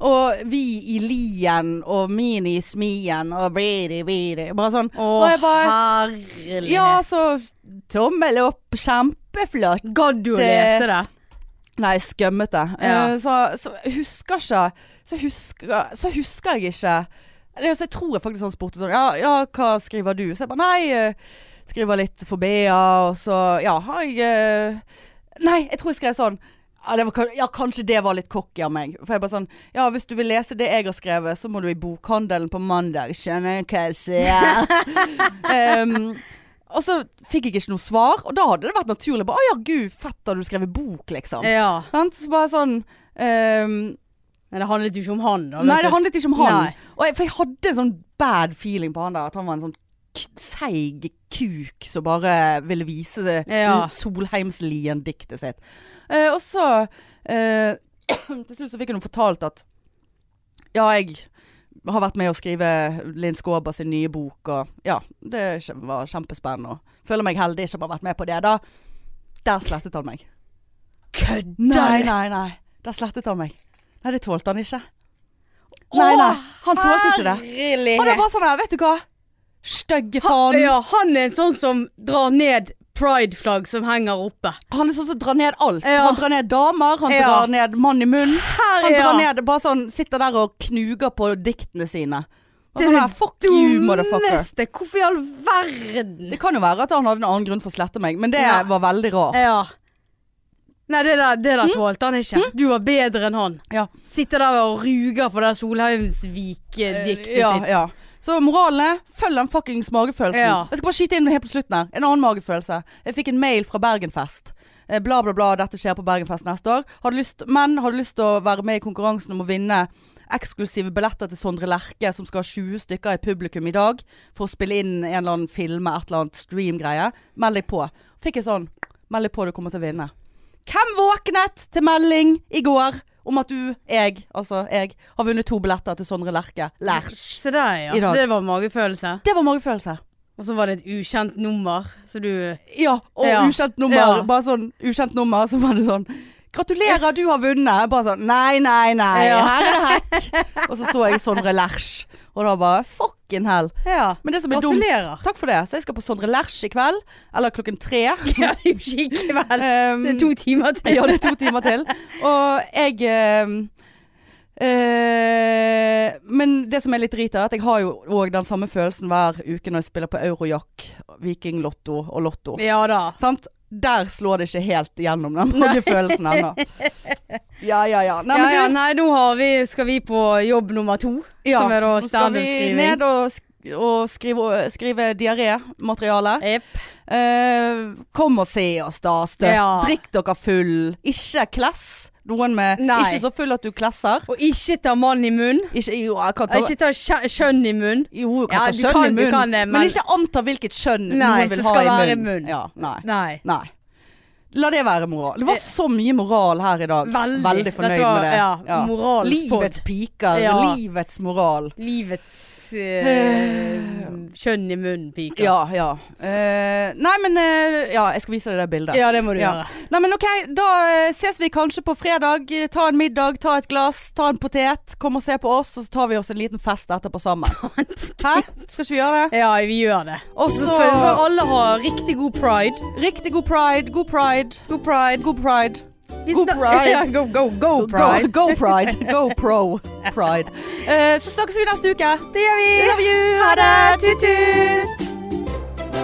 S1: Og vi i Lien og mini i Smien og bidi bidi. Bare sånn.
S3: Å,
S1: og jeg bare
S3: herlighet.
S1: Ja, så tommel opp. Kjempeflott.
S3: Gadd du å lese det?
S1: Nei, skummete.
S3: Ja.
S1: Eh, så, så jeg husker ikke Så husker, så husker jeg ikke Eller, altså, Jeg tror jeg faktisk han spurte sånn ja, ja, hva skriver du? Så jeg bare nei, eh, skriver litt for BA, og så ja, har jeg eh, Nei, jeg tror jeg skrev sånn ja, det var, kan- ja, kanskje det var litt cocky av meg. For jeg bare sånn Ja, hvis du vil lese det jeg har skrevet, så må du i bokhandelen på mandag. Skjønner du hva jeg sier? Ehm, og så fikk jeg ikke noe svar, og da hadde det vært naturlig. Bare, Å ja, gud, fett, har du skrevet bok, liksom?
S3: Ja.
S1: Sant? Så bare sånn ehm,
S3: Men det handlet jo ikke om han, da. vet
S1: Nei,
S3: du.
S1: det handlet ikke om han.
S3: Nei.
S1: Og jeg, for jeg hadde en sånn bad feeling på han der. At han var en sånn k- seig kuk som bare ville vise det-
S3: Ja.
S1: Solheimslien-diktet sitt. Eh, og så eh, Til slutt så fikk jeg noe fortalt at Ja, jeg har vært med å skrive Linn Skåber sin nye bok, og ja, det kjem- var kjempespennende. Og føler meg heldig som har vært med på det, da. Der slettet han meg. Nei,
S3: Kødder du?
S1: nei, nei. Der slettet han meg. Nei, det tålte han ikke. Nei, nei. Han tålte ikke det.
S3: Herlighet.
S1: Og det var sånn her, vet du hva? Stygge faen.
S3: Ja, han er en sånn som drar ned prideflagg som henger oppe.
S1: Han er sånn som drar ned alt.
S3: Ja.
S1: Han drar ned damer, han
S3: Ja.
S1: drar ned mann i munn. Han
S3: ja.
S1: drar ned, bare sånn, sitter der og knuger på diktene sine. Og
S3: Det
S1: sånn
S3: er
S1: her, fuck you, motherfucker.
S3: dummeste! Hvorfor i all verden?
S1: Det kan jo være at han hadde en annen grunn for å slette meg, men det
S3: Ja.
S1: var veldig rart.
S3: Ja. Nei, det der, det
S1: Mm.
S3: der tålte han ikke. Du var bedre enn han.
S1: Ja.
S3: Sitter der og ruger på det Solheimsvik-diktet
S1: Eh, ja,
S3: sitt.
S1: ja. Så moralen er følg den fuckings magefølelsen.
S3: Ja.
S1: Jeg skal bare skyte inn helt på slutten her. En annen magefølelse. Jeg fikk en mail fra Bergenfest. Eh, Bla, bla, bla. Dette skjer på Bergenfest neste år. Hadde lyst, men hadde lyst til å være med i konkurransen om å vinne eksklusive billetter til Sondre Lerche, som skal ha 20 stykker i publikum i dag for å spille inn en eller annen film, et eller annet streamgreie. Meld deg på. Fikk jeg sånn Meld deg på, du kommer til å vinne. Hvem våknet til melding i går om at du, jeg, altså jeg, har vunnet to billetter til Sondre Lerche? Lerche.
S3: Se der,
S1: I
S3: ja.
S1: dag.
S3: Det var magefølelse.
S1: Det var magefølelse.
S3: Og så var det et ukjent nummer, så du
S1: Ja, og
S3: Ja.
S1: ukjent nummer.
S3: Ja.
S1: Bare sånn ukjent nummer, så var det sånn Gratulerer, du har vunnet. Jeg Bare sånn Nei, nei, nei.
S3: Ja.
S1: Her er det hekk. og så så jeg Sondre Lerche, og da bare fucking hell.
S3: Ja.
S1: Men det som er
S3: Gratulerer.
S1: dumt Takk for det. Så jeg skal på Sondre Lerche i kveld. Eller klokken tre.
S3: Ja, det er jo ikke i kveld.
S1: Um,
S3: Det er to timer til.
S1: ja, det er to timer til. Og jeg ehm, eh, Men det som er litt drit, er at jeg har jo òg den samme følelsen hver uke når jeg spiller på Eurojack, Viking, Lotto og Lotto.
S3: Ja da.
S1: Sant? Der slår det ikke helt gjennom den magefølelsen ennå. Ja, ja, ja. Nei,
S3: Ja,
S1: men
S3: ja,
S1: du,
S3: nei, nå har vi, skal vi på jobb nummer to,
S1: ja.
S3: som er da
S1: Nå skal vi
S3: standup-skriving.
S1: ned og, sk og skrive, skrive diarémateriale.
S3: Jepp.
S1: Eh, kom og se oss, da. Støtt.
S3: Ja.
S1: Drikk dere full. Ikke kless. Noen med
S3: Nei.
S1: Ikke så full at du klesser.
S3: Og ikke ta mann i munn.
S1: Ikke, jo, jeg kan ta,
S3: Ikke ta kjø- kjønn i munn.
S1: jo, jeg kan
S3: Ja,
S1: ta
S3: du
S1: kjønn
S3: kan-
S1: i
S3: du
S1: munnen.
S3: kan det,
S1: men...
S3: men-
S1: ikke anta hvilket kjønn
S3: Nei,
S1: noen vil
S3: som
S1: ha
S3: skal
S1: i
S3: være i
S1: munnen.
S3: munnen.
S1: Ja, nei.
S3: Nei.
S1: nei. La det være moral. Det var så mye moral her i dag.
S3: Eh. Veldig.
S1: fornøyd
S3: Dette var-
S1: med det.
S3: ja, moralens
S1: Livets piker.
S3: Ja.
S1: Livets moral.
S3: Livets eh, kjønn i munnen, piker.
S1: Ja, ja. Eh, nei, men eh, Ja, jeg skal vise deg det bildet.
S3: Ja, det må du
S1: Ja.
S3: gjøre.
S1: Nei, men ok, da eh, ses vi kanskje på fredag. Eh, Ta en middag, ta et glass, ta en potet. Kom og se på oss, og så tar vi oss en liten fest etterpå sammen. Hæ? Skal ikke vi gjøre det?
S3: Ja, vi gjør det.
S1: Og så
S3: For, for alle har riktig god pride.
S1: riktig god pride, god pride,
S3: God pride.
S1: god pride.
S3: Vi
S1: God
S3: snak-
S1: pride.
S3: Ja, go, go, go pride.
S1: Go, go pride. Go pro pride. Eh, så snakkes vi neste uke.
S3: Det gjør vi.
S1: Love you. Ha det. Tut-tut.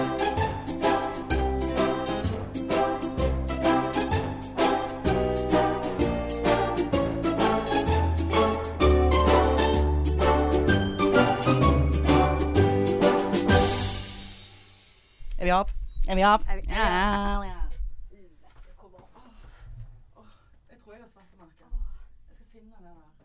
S1: Er vi av? Er vi av? Ja. Jeg tror jeg har svettemerker. Jeg skal finne det der.